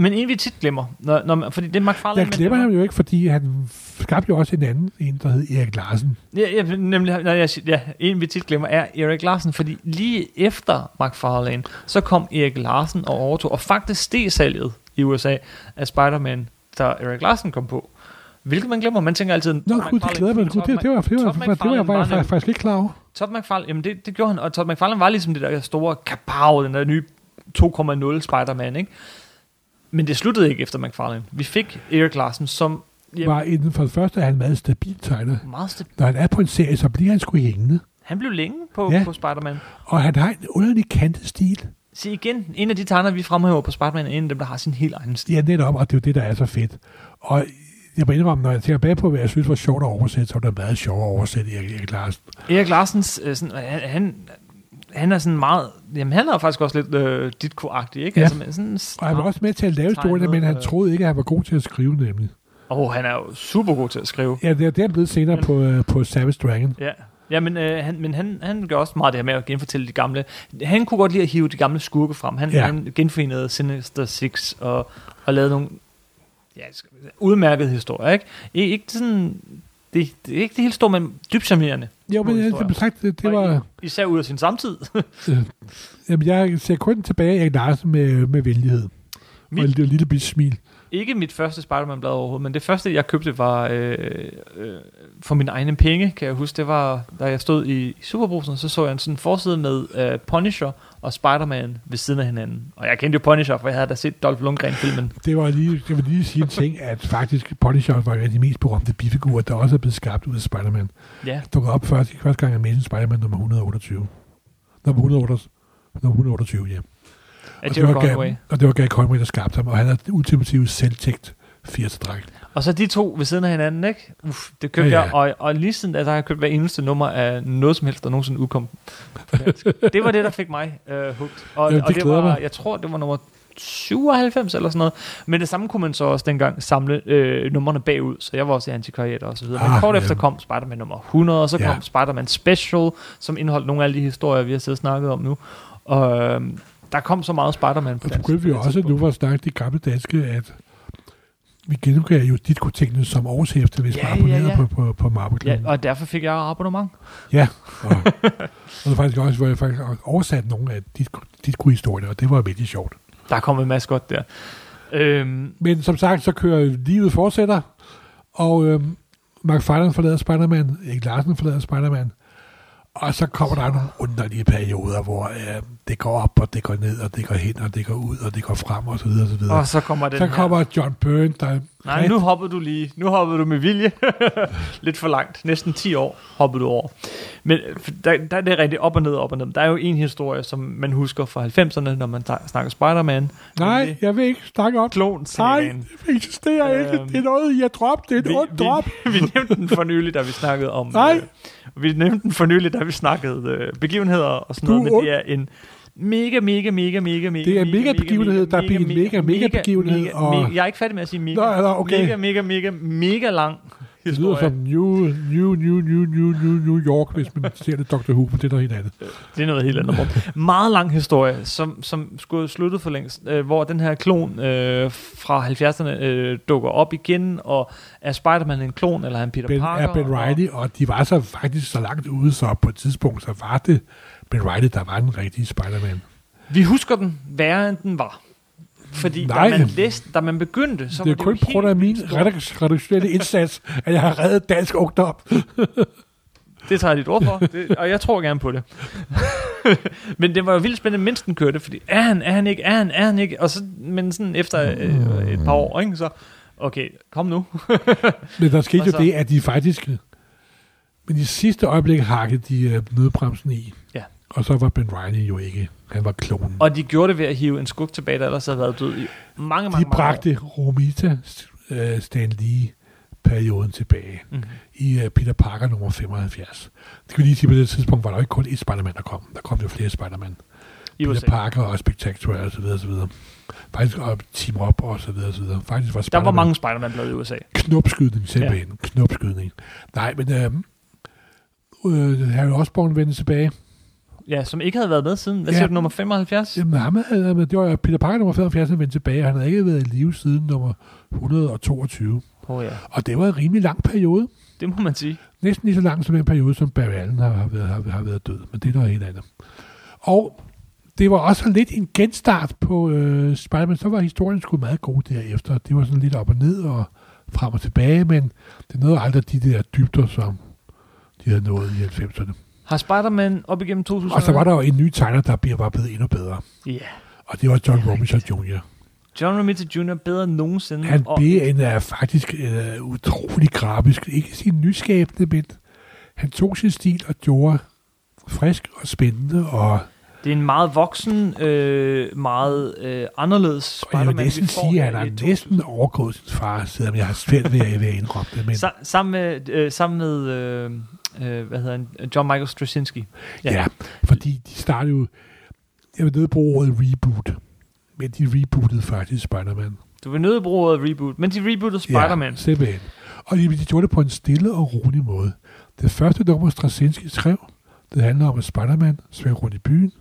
A: Men en, vi tit glemmer, når, når man, fordi det er McFarlane.
B: Jeg
A: man
B: glemmer ham jo ikke, fordi han skabte jo også en anden, en der hed Erik Larsen.
A: Ja, ja, nemlig, nej, jeg, siger- ja, en vi tit glemmer er Erik Larsen, fordi lige efter McFarlane, så kom Erik Larsen og overtog, og faktisk steg salget i USA af Spider-Man, da Erik Larsen kom på. Hvilket man glemmer, man tænker altid...
B: Nå,
A: Tom
B: gud, det
A: McFarlane,
B: glæder mig.
A: Tom
B: Gud, det, det, var, det, var,
A: Tom
B: det, var, det var
A: McFarlane
B: jeg bare,
A: nemlig-
B: faktisk, faktisk ikke klar over.
A: Todd McFarlane, jamen det, det gjorde han, og Todd McFarlane var ligesom det der store kapow, den der nye 2,0 Spider-Man, ikke? Men det sluttede ikke efter McFarlane. Vi fik Erik Larsen, som jamen,
B: Var inden for det første er han en meget stabil tegner.
A: meget stabil.
B: Når han er på en serie, så bliver han sgu hængende.
A: Han blev længe på, ja.
B: Ja.
A: på Spider-Man.
B: Og han har en underlig kantet stil.
A: Se igen, en af de tegner, vi fremhæver på Spider-Man, er en af dem, der har sin helt egen stil.
B: Ja, netop, og det er jo det, der er så fedt. Og jeg må indrømme, når jeg tænker bag på, hvad jeg synes var sjovt at oversætte, så var det meget sjovt at oversætte Erik, Erik Larsen.
A: Erik Larsens, øh, sådan, han, han, han er sådan meget, jamen han er faktisk også lidt øh, ditko-agtig, ikke?
B: Ja.
A: Altså, men sådan,
B: Og han var også med til at lave
A: Tegnet,
B: historierne, men han
A: øh.
B: troede ikke, at han var god til at skrive, nemlig.
A: Åh, han er jo super god til at skrive.
B: Ja, det er, det er han blevet senere
A: Men-
B: på, øh, på Savage Dragon.
A: Ja, ja men, øh, han, men han, han gør også meget det her med at genfortælle de gamle. Han kunne godt lide at hive de gamle skurke frem. Han, ja.
B: Ja.
A: han genforenede Sinister Six og, og lavede nogle ja, udmærkede historier. Ikke, I, ikke sådan, det, det er ikke det helt store, men dybt charmerende.
B: Jo, men
A: Små
B: jeg,
A: historier.
B: som sagt, det, det
A: Og
B: var...
A: i- Især ud af sin samtid.
B: Jamen, jeg ser kun tilbage Erik Larsen med, med venlighed.
A: Mit-
B: Mit. Og en lille, lille bit smil.
A: ikke mit første Spider-Man-blad overhovedet, men det første, jeg købte, var øh, øh, for mine egne penge, kan jeg huske. Det var, da jeg stod i, i Superbrusen, så så jeg en sådan forside med øh, Punisher og Spider-Man ved siden af hinanden. Og jeg kendte jo Punisher, for jeg havde da set Dolph Lundgren-filmen.
B: Det var lige, jeg vil lige sige en ting, at faktisk Punisher var en af de mest berømte bifigurer, der også er blevet skabt ud af Spider-Man.
A: Ja,
B: Dukker op første, første gang i Amazing Spider-Man nummer 128. Nummer 128, nummer 128 ja.
A: af
B: Og
A: Jerry
B: var,
A: Conway.
B: Gary, og det var Gary Conway, der skabte ham, og han er ultimative selvtægt 80-dragt.
A: Og så de to ved siden af hinanden, ikke? Uff, det købte
B: Ja,
A: ja,
B: ja.
A: jeg, og, og lige siden, altså, har jeg købt hver eneste nummer af noget som helst, der nogensinde udkom. på dansk. det var det, der fik mig øh, hugt. Og,
B: Jamen, det
A: og det
B: glæder
A: var,
B: mig.
A: jeg tror, det var nummer 97 eller sådan noget. Men det samme kunne man så også dengang samle øh, numrene bagud, så jeg var også i antikvariater og så videre. Men
B: Ah,
A: kort
B: ja.
A: efter kom Spider-Man nummer 100, og så
B: Ja.
A: kom Spider-Man Special, som indeholdt nogle af alle de historier, vi har siddet og snakket om nu. Og øh, der kom så meget Spider-Man på
B: Og så
A: dansk.
B: begyndte vi
A: på det
B: også
A: tidspunkt.
B: nu at snakke de gamle danske, at vi genudgav jo ditko-tingene som årshæfte, hvis
A: Ja,
B: man
A: ja,
B: abonnerede
A: ja.
B: på, på, på marvel
A: Ja, og derfor fik jeg abonnement.
B: Ja, og, og der faktisk også, hvor jeg faktisk også oversat nogle af dit, dit gode historier, og det var virkelig sjovt.
A: Der kom en masse godt der. Øhm,
B: Men som sagt, så kører livet fortsætter, og øhm, Mark Farland forlader Spider-Man, Erik Larsen forlader Spider-Man, og så kommer der nogle underlige perioder, hvor øh, det går op, og det går ned, og det går hen, og det går ud, og det går frem, og så videre, og så videre.
A: og så kommer den
B: så
A: her.
B: kommer John Byrne, der
A: Nej, nu hoppede du lige. Nu hoppede du med vilje. Lidt for langt. Næsten 10 år hoppede du over. Men øh, for der, der er det rigtig op og ned, op og ned. Der er jo en historie, som man husker fra 90'erne, når man ta- snakker Spider-Man.
B: Nej, jeg vil ikke snakke om
A: Klon
B: Nej, det eksisterer øhm, ikke.
A: Øhm,
B: Det er noget, jeg drop. Det er
A: vi,
B: et ondt drop.
A: vi, vi nævnte den for nylig, da vi snakkede om...
B: Nej.
A: Øh, vi nævnte den for nylig, da vi snakkede øh, begivenheder og sådan
B: Du
A: noget,
B: er
A: men det er en mega, mega, mega, mega, mega...
B: Det er en megabegivenhed, der bliver en mega, mega begivenhed,
A: mega-
B: og-
A: mega- Jeg er ikke færdig med at sige mega.
B: Nå, nå, okay.
A: Mega, mega, mega, mega lang
B: Det lyder
A: historie.
B: som New, New, New, New, New, New, New York, hvis man ser det Dr. Who, men det er noget helt andet.
A: Det er noget helt andet rum. Meget lang historie, som, som skulle have sluttet for længst, øh, hvor den her klon øh, fra 70'erne øh, dukker op igen, og er Spider-Man en klon, eller er han Peter
B: Ben,
A: Parker?
B: er Ben Reilly, og de var så faktisk så langt ude, så på et tidspunkt, så var det Ben Reilly, der var den rigtige Spider-Man.
A: Og vi husker den værre, end den var. Fordi
B: Nej.
A: da man, læste, da man begyndte, så
B: Det er
A: var
B: kun
A: det
B: på grund af min redakt- redaktionelle indsats, at jeg har reddet dansk ungdom.
A: Det tager jeg dit ord for, det, og jeg tror gerne på det. men det var jo vildt spændende, mens den kørte, fordi er han, er han ikke, er han, er han ikke, og så, men sådan efter øh, et par år, ikke, så, okay, kom nu.
B: Men der skete
A: Hvad
B: jo
A: så?
B: det, at de faktisk... Men i sidste øjeblik hakkede de øh, nødbremsen i.
A: Ja.
B: Og så var Ben Reilly jo ikke. Han var klonen.
A: Og de gjorde det ved at hive en skug tilbage, der ellers havde været død i mange, mange,
B: De
A: mange år.
B: bragte Romita øh, Stan Lee-perioden tilbage
A: Mm.
B: i øh, Peter Parker nummer 75. Det kan vi lige sige, på det tidspunkt var der jo ikke kun ét Spider-Man, der kom. Der kom jo flere Spider-Man.
A: I USA.
B: Peter Parker og Spectacular og så videre, så videre. Faktisk og Team Up og så videre, så videre. Faktisk var
A: Der var
B: Spider-Man
A: mange Spider-Man-blade i USA.
B: knopskydning simpelthen. Ja. Knopskydning. Nej, men øh, øh, Harry Osborn vendte tilbage.
A: Ja, som ikke havde været med siden. Hvad
B: Ja.
A: siger du, nummer 75?
B: Jamen, ham havde, men det var Peter Parker nummer 75, han vendte tilbage, og han havde ikke været i live siden nummer 122.
A: Åh oh, ja,
B: Og det var en rimelig lang periode.
A: det må man sige.
B: Næsten lige så lang som den periode, som Barry Allen har, har, været, har, har været død. Men det er noget helt andet. Og det var også lidt en genstart på øh, Spider-Man. Så var historien sgu meget god derefter. Det var sådan lidt op og ned og frem og tilbage, men det nåede aldrig de der dybder, som de havde nået i 90'erne.
A: Har Spider-Man op igennem 2000?
B: Og så Altså, var der jo en ny tegner, der bliver- var blevet endnu bedre.
A: Ja.
B: Og det var John Robinson Jr.
A: John Romita Jr. bedre end nogensinde.
B: Han
A: og
B: blev en uh, faktisk uh, utrolig grafisk, ikke sin nyskabende, men han tog sin stil og gjorde frisk og spændende, og
A: det er en meget voksen, øh, meget øh, anderledes
B: og jeg
A: Spider-Man,
B: vil næsten
A: vi får
B: sige, at han
A: her i
B: har
A: 2000.
B: næsten overgået sin far, selvom jeg har svært ved at ved at indrømme det. Men,
A: Sa- sammen med, øh, sammen med øh, øh, hvad hedder han, John Michael Straczynski.
B: ja. ja, fordi de startede jo, jeg vil nødt bruge ordet reboot, men de rebootede faktisk Spider-Man.
A: Du vil nødt til at bruge ordet reboot, men de rebootede Spider-Man.
B: Ja, simpelthen. Og de, de gjorde det på en stille og rolig måde. Det første nummer, Straczynski skrev, det handler om, at Spider-Man svæver rundt i byen,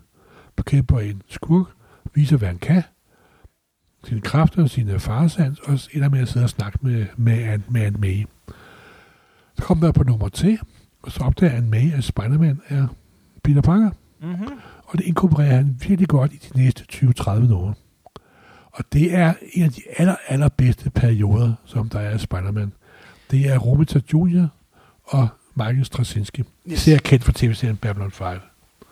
B: bekæmper en skurk, viser, hvad han kan, sine kræfter og sine faresands, og ender med at sidde og snakke med, med, Aunt, med Aunt May. Så kom der på nummer til, og så opdager Aunt May, at Spider-Man er Peter Parker
A: Mm-hmm.
B: og det inkorporerer han virkelig godt i de næste 20-30 år. Og det er en af de aller, allerbedste perioder, som der er af Spider-Man. Det er Romita Jr. og Michael Straczynski. Især kendt for tv-serien Babylon 5.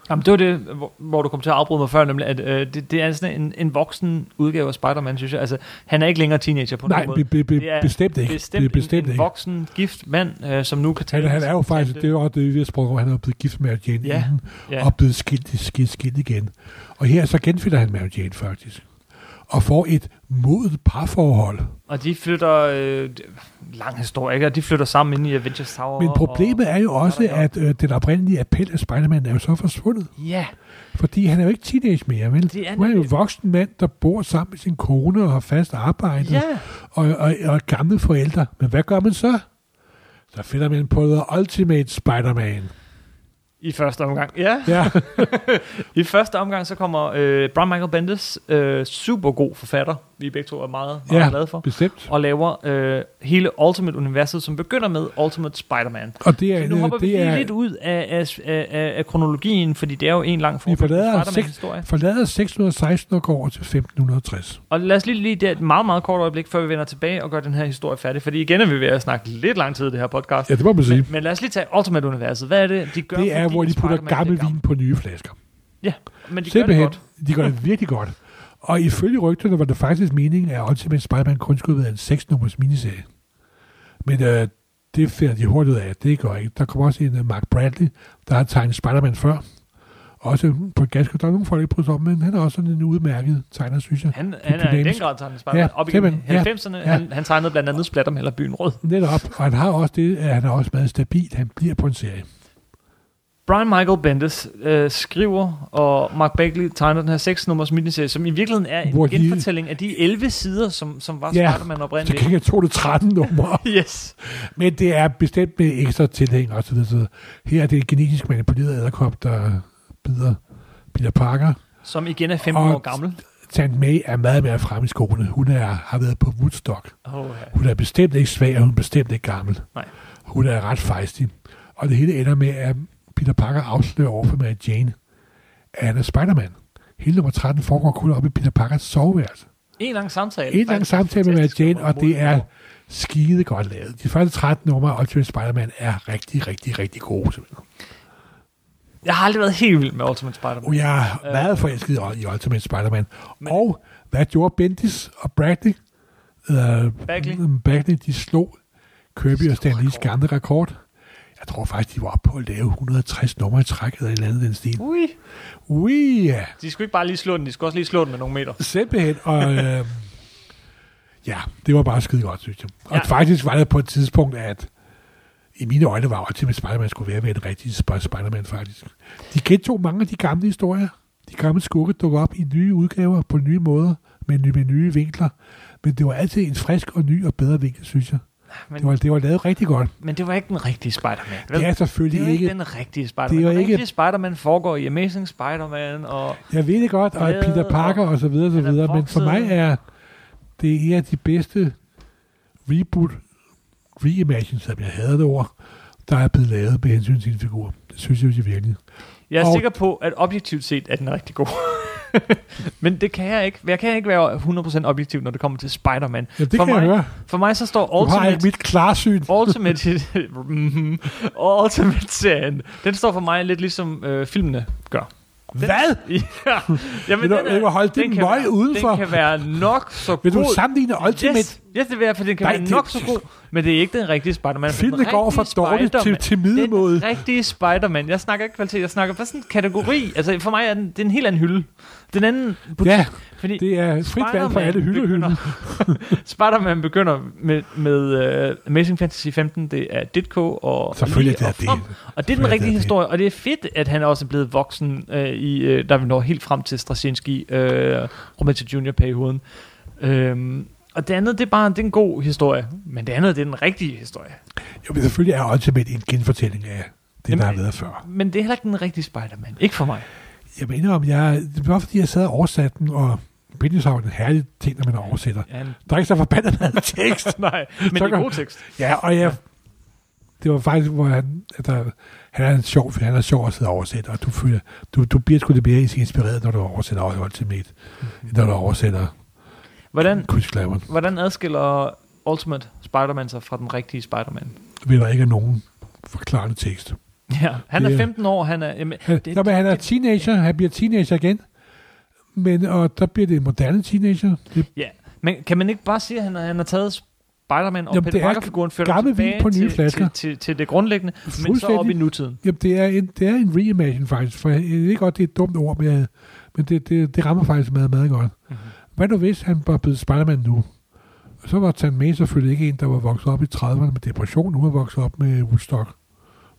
A: Jamen, det var det, hvor, hvor du kom til at afbryde mig før, nemlig, at øh, det, det er sådan en, en voksen udgave af Spider-Man, synes jeg. Altså, han er ikke længere teenager på
B: Nej,
A: nogen måde.
B: be, be,
A: Det er
B: be, bestemt ikke.
A: bestemt,
B: Det er bestemt
A: en, en
B: ikke.
A: voksen, gift mand, øh, som nu kan
B: Han,
A: tale.
B: han er jo faktisk,
A: tale-
B: det er jo også det, vi har sprunget over, han er blevet gift med Mary Jane
A: Ja,
B: inden,
A: ja.
B: og blevet skilt, skilt, skilt igen. Og her så genfinder han Mary Jane faktisk, og får et modet parforhold.
A: Og de flytter, øh, d- lang historie, ikke? Og de flytter sammen ind i Avengers Tower.
B: Men problemet er jo også,
A: der er-
B: at øh, den oprindelige appel af Spider-Man er jo så forsvundet.
A: Og, ja,
B: Fordi han er jo ikke teenage mere, vel?
A: Det er
B: nu er han jo
A: nemlig-
B: en voksen mand, der bor sammen med sin kone og har fast arbejde
A: ja.
B: og, og, og gamle forældre. Men hvad gør man så? Så finder man på The Ultimate Spider-Man.
A: I første omgang, ja.
B: Ja,
A: I første omgang, så kommer øh, Brian Michael Bendis, øh, super god forfatter, vi begge to er meget, meget
B: Ja.
A: glade for,
B: bestemt.
A: og laver øh, hele Ultimate-universet, som begynder med Ultimate Spider-Man.
B: Og det er,
A: Så nu hopper vi
B: det
A: lige
B: er,
A: lidt ud af, af, af, af, af kronologien, fordi det er jo en lang
B: vi
A: form
B: forlader, seks,
A: Spider-Man-historie.
B: forlader 616 og går over til 1560.
A: Og lad os lige lige der et meget, meget kort øjeblik, før vi vender tilbage og gør den her historie færdig, fordi igen er vi ved at snakke lidt lang tid i det her podcast.
B: Ja, det må man sige.
A: Men, men lad os lige tage Ultimate-universet. Hvad er det, de gør?
B: Det er,
A: fordi
B: hvor de putter
A: Spider-Man
B: gammel
A: bliver
B: vin på nye flasker.
A: Ja, men de gør det
B: Simpelthen,
A: godt.
B: de gør det virkelig godt. Og ifølge rygterne var det faktisk meningen, at Ultimate Spider-Man kun skulle være en 6-nummers miniserie. Men øh, det finder de hurtigt ud af, at det går ikke. Der kommer også en uh, Mark Bradley, der har tegnet Spider-Man før. Også på et ganske, der er nogle folk, der ikke bryder sig om, men han er også sådan en udmærket tegner, synes jeg.
A: Han, han er i den
B: dynamisk.
A: grad tegnet Spider-Man.
B: Ja,
A: Op igennem
B: simpelthen. Ja,
A: 90'erne,
B: ja.
A: han, han tegnede blandt andet Splatterman eller Byen Rød.
B: Netop, og han har også det, at han er også meget stabil. Han bliver på en serie.
A: Brian Michael Bendis øh, skriver, og Mark Bagley tegner den her 6-nummers miniserie, som i virkeligheden er en
B: Hvor de-
A: genfortælling af de 11 sider, som, som var
B: Ja,
A: Spider-Man
B: Så
A: oprindeligt.
B: kan jeg tro, det 13 numre.
A: Yes.
B: Men det er bestemt med ekstra tilhæng og så videre. så videre. Her er det en genetisk manipuleret æderkop, der bider Peter Parker.
A: Som igen er 15
B: Og-
A: år gammel.
B: Tant May er meget mere frem i skoene. Hun er, har været på Woodstock.
A: Oh, ja.
B: Hun er bestemt ikke svag, og hun er bestemt ikke gammel.
A: Nej.
B: Hun er ret fejstig. Og det hele ender med, at Peter Parker afslører over for Mary Jane, at han er Spider-Man. Hele nummer 13 foregår kun oppe i Peter Parkers soveværelse.
A: En lang samtale.
B: En lang
A: Faktisk
B: samtale med Mary
A: fantastisk
B: Jane, og det er
A: modigt.
B: skide godt lavet. De første 13 numre af Ultimate Spider-Man er rigtig, rigtig, rigtig gode. simpelthen.
A: Jeg har aldrig været helt vild med Ultimate Spider-Man.
B: Og jeg er meget forelsket i- i Ultimate Spider-Man. Og hvad gjorde Bendis og Bradley? Øh,
A: Bagley.
B: mm, Bagley, de slog Kirby og Stan Lees
A: rekord.
B: gamle rekord. Jeg tror faktisk, de var oppe på at lave 160 numre i træk eller et eller andet i den stil.
A: Ui.
B: Ui, ja.
A: De skulle ikke bare lige slå den, de skulle også lige slå den med nogle meter.
B: Simpelthen. Og, øh, Ja, det var bare skide godt, synes jeg. Og
A: Ja.
B: ja. faktisk var det på et tidspunkt, at i mine øjne var Ultimate Spider-Man skulle være ved en rigtig Sp- Spider-Man, faktisk. De gentog mange af de gamle historier. De gamle skurke dukker op i nye udgaver på nye måder, med, nye, med nye vinkler. Men det var altid en frisk og ny og bedre vinkel, synes jeg.
A: Men,
B: Det var, det var lavet rigtig godt.
A: men det var ikke den rigtige Spider-Man. vel?
B: Det er
A: det
B: selvfølgelig
A: er jo
B: ikke...
A: ikke den rigtige Spider-Man.
B: det er jo
A: Den
B: ikke-
A: rigtige Spider-Man foregår i Amazing Spider-Man, og
B: Jeg ved det godt, og at
A: Glade,
B: Peter Parker og så videre, og så
A: han er
B: videre, men for
A: vokset.
B: mig er det en af de bedste reboot, reimagine, som jeg havde det ord, der er blevet lavet med hensyn til en figur. Det synes jeg jo virkelig.
A: jeg er og...
B: Og-
A: sikker på, at objektivt set er den rigtig god. men det kan jeg ikke. Jeg kan ikke være 100% objektiv, når det kommer til Spider-Man.
B: Ja, det
A: For
B: for kan mig,
A: mig-
B: jeg høre.
A: For mig så står
B: Du har
A: Ultimate...
B: ikke mit klarsyn.
A: Ultimate, Mhm. Ultimate-serien, den står for mig lidt ligesom øh, filmene gør. Den-
B: Hvad?
A: ja, jamen,
B: Vil du- vil du holde din
A: kan
B: møg
A: være-
B: udenfor?
A: Den kan være nok så
B: Vil
A: god.
B: du sammenligne Ultimate?
A: Yes, yes det vil jeg, for den kan
B: Nej,
A: være
B: det-
A: nok så god, men det er ikke den rigtige Spider-Man. for Altså, den
B: Filmene går fra
A: rigtige
B: dårligt til,
A: Spider-Man-
B: til
A: Den
B: middelmåde.
A: rigtige Spider-Man. Jeg snakker ikke kvalitet, jeg snakker bare sådan en kategori. Altså for mig er den, det er en helt anden hylde. Den anden... butik,
B: Ja,
A: fordi
B: det er frit valg for
A: Spider-Man
B: alle hyldehylden.
A: begynder- Spider-Man begynder med, med uh, Amazing Fantasy 15. Det er Ditko og
B: Selvfølgelig
A: Lee
B: det
A: og
B: er
A: From.
B: det.
A: Og det er den
B: Selvfølgelig
A: rigtige
B: er det.
A: historie, og det er fedt, at han også er blevet voksen, øh, i, øh, der vi når helt frem til Straczynski, øh, Romantic Junior perioden. Øhm, og det andet, det er bare det er en god historie, men det andet, det er den rigtige historie.
B: Jo, men selvfølgelig er Ultimate en genfortælling af det,
A: Jamen,
B: der har været før.
A: Men det er heller ikke den rigtige Spider-Man. Ikke for mig.
B: Jeg mener om, jeg, det var fordi, jeg sad og oversatte den, og Bindings er jo en herlig ting, når man oversætter.
A: Ja, en-
B: Der er ikke så forbandet meget tekst.
A: nej, men
B: Så
A: det er
B: kan-
A: god tekst.
B: Ja, og jeg, det var faktisk, hvor han, at der, han er en sjov, han er sjov at sidde og oversætte, og du, føler, du, du bliver sgu lidt mere inspireret, når du oversætter Ultimate, end når du oversætter
A: Hvordan,
B: Chris Claremont.
A: hvordan adskiller Ultimate Spider-Man sig fra den rigtige Spider-Man?
B: Ved der ikke er nogen forklarende tekst.
A: Ja, han er
B: Det-
A: 15 år, han er... Jamen,
B: Han,
A: det-
B: det, jamen, han er teenager, han bliver teenager igen, men og der bliver det en moderne teenager. Det
A: Ja, men kan man ikke bare sige, at han, han har taget Spider-Man og
B: Jamen,
A: Peter
B: det er
A: Parker-figuren ført
B: gammel
A: tilbage
B: vin på nye
A: til,
B: flasker.
A: Til, til, til det grundlæggende, men så op
B: Fuldstændig.
A: i nutiden.
B: Jamen, det er en, det er en reimagine faktisk, for jeg ved godt, det er et dumt ord, men, jeg, men det, det, det rammer faktisk meget, meget godt.
A: Mhm.
B: Mm-hmm. Hvad nu hvis han var blevet Spider-Man nu? Så var Tan May selvfølgelig ikke en, der var vokset op i 30'erne med depression, hun var vokset op med Woodstock,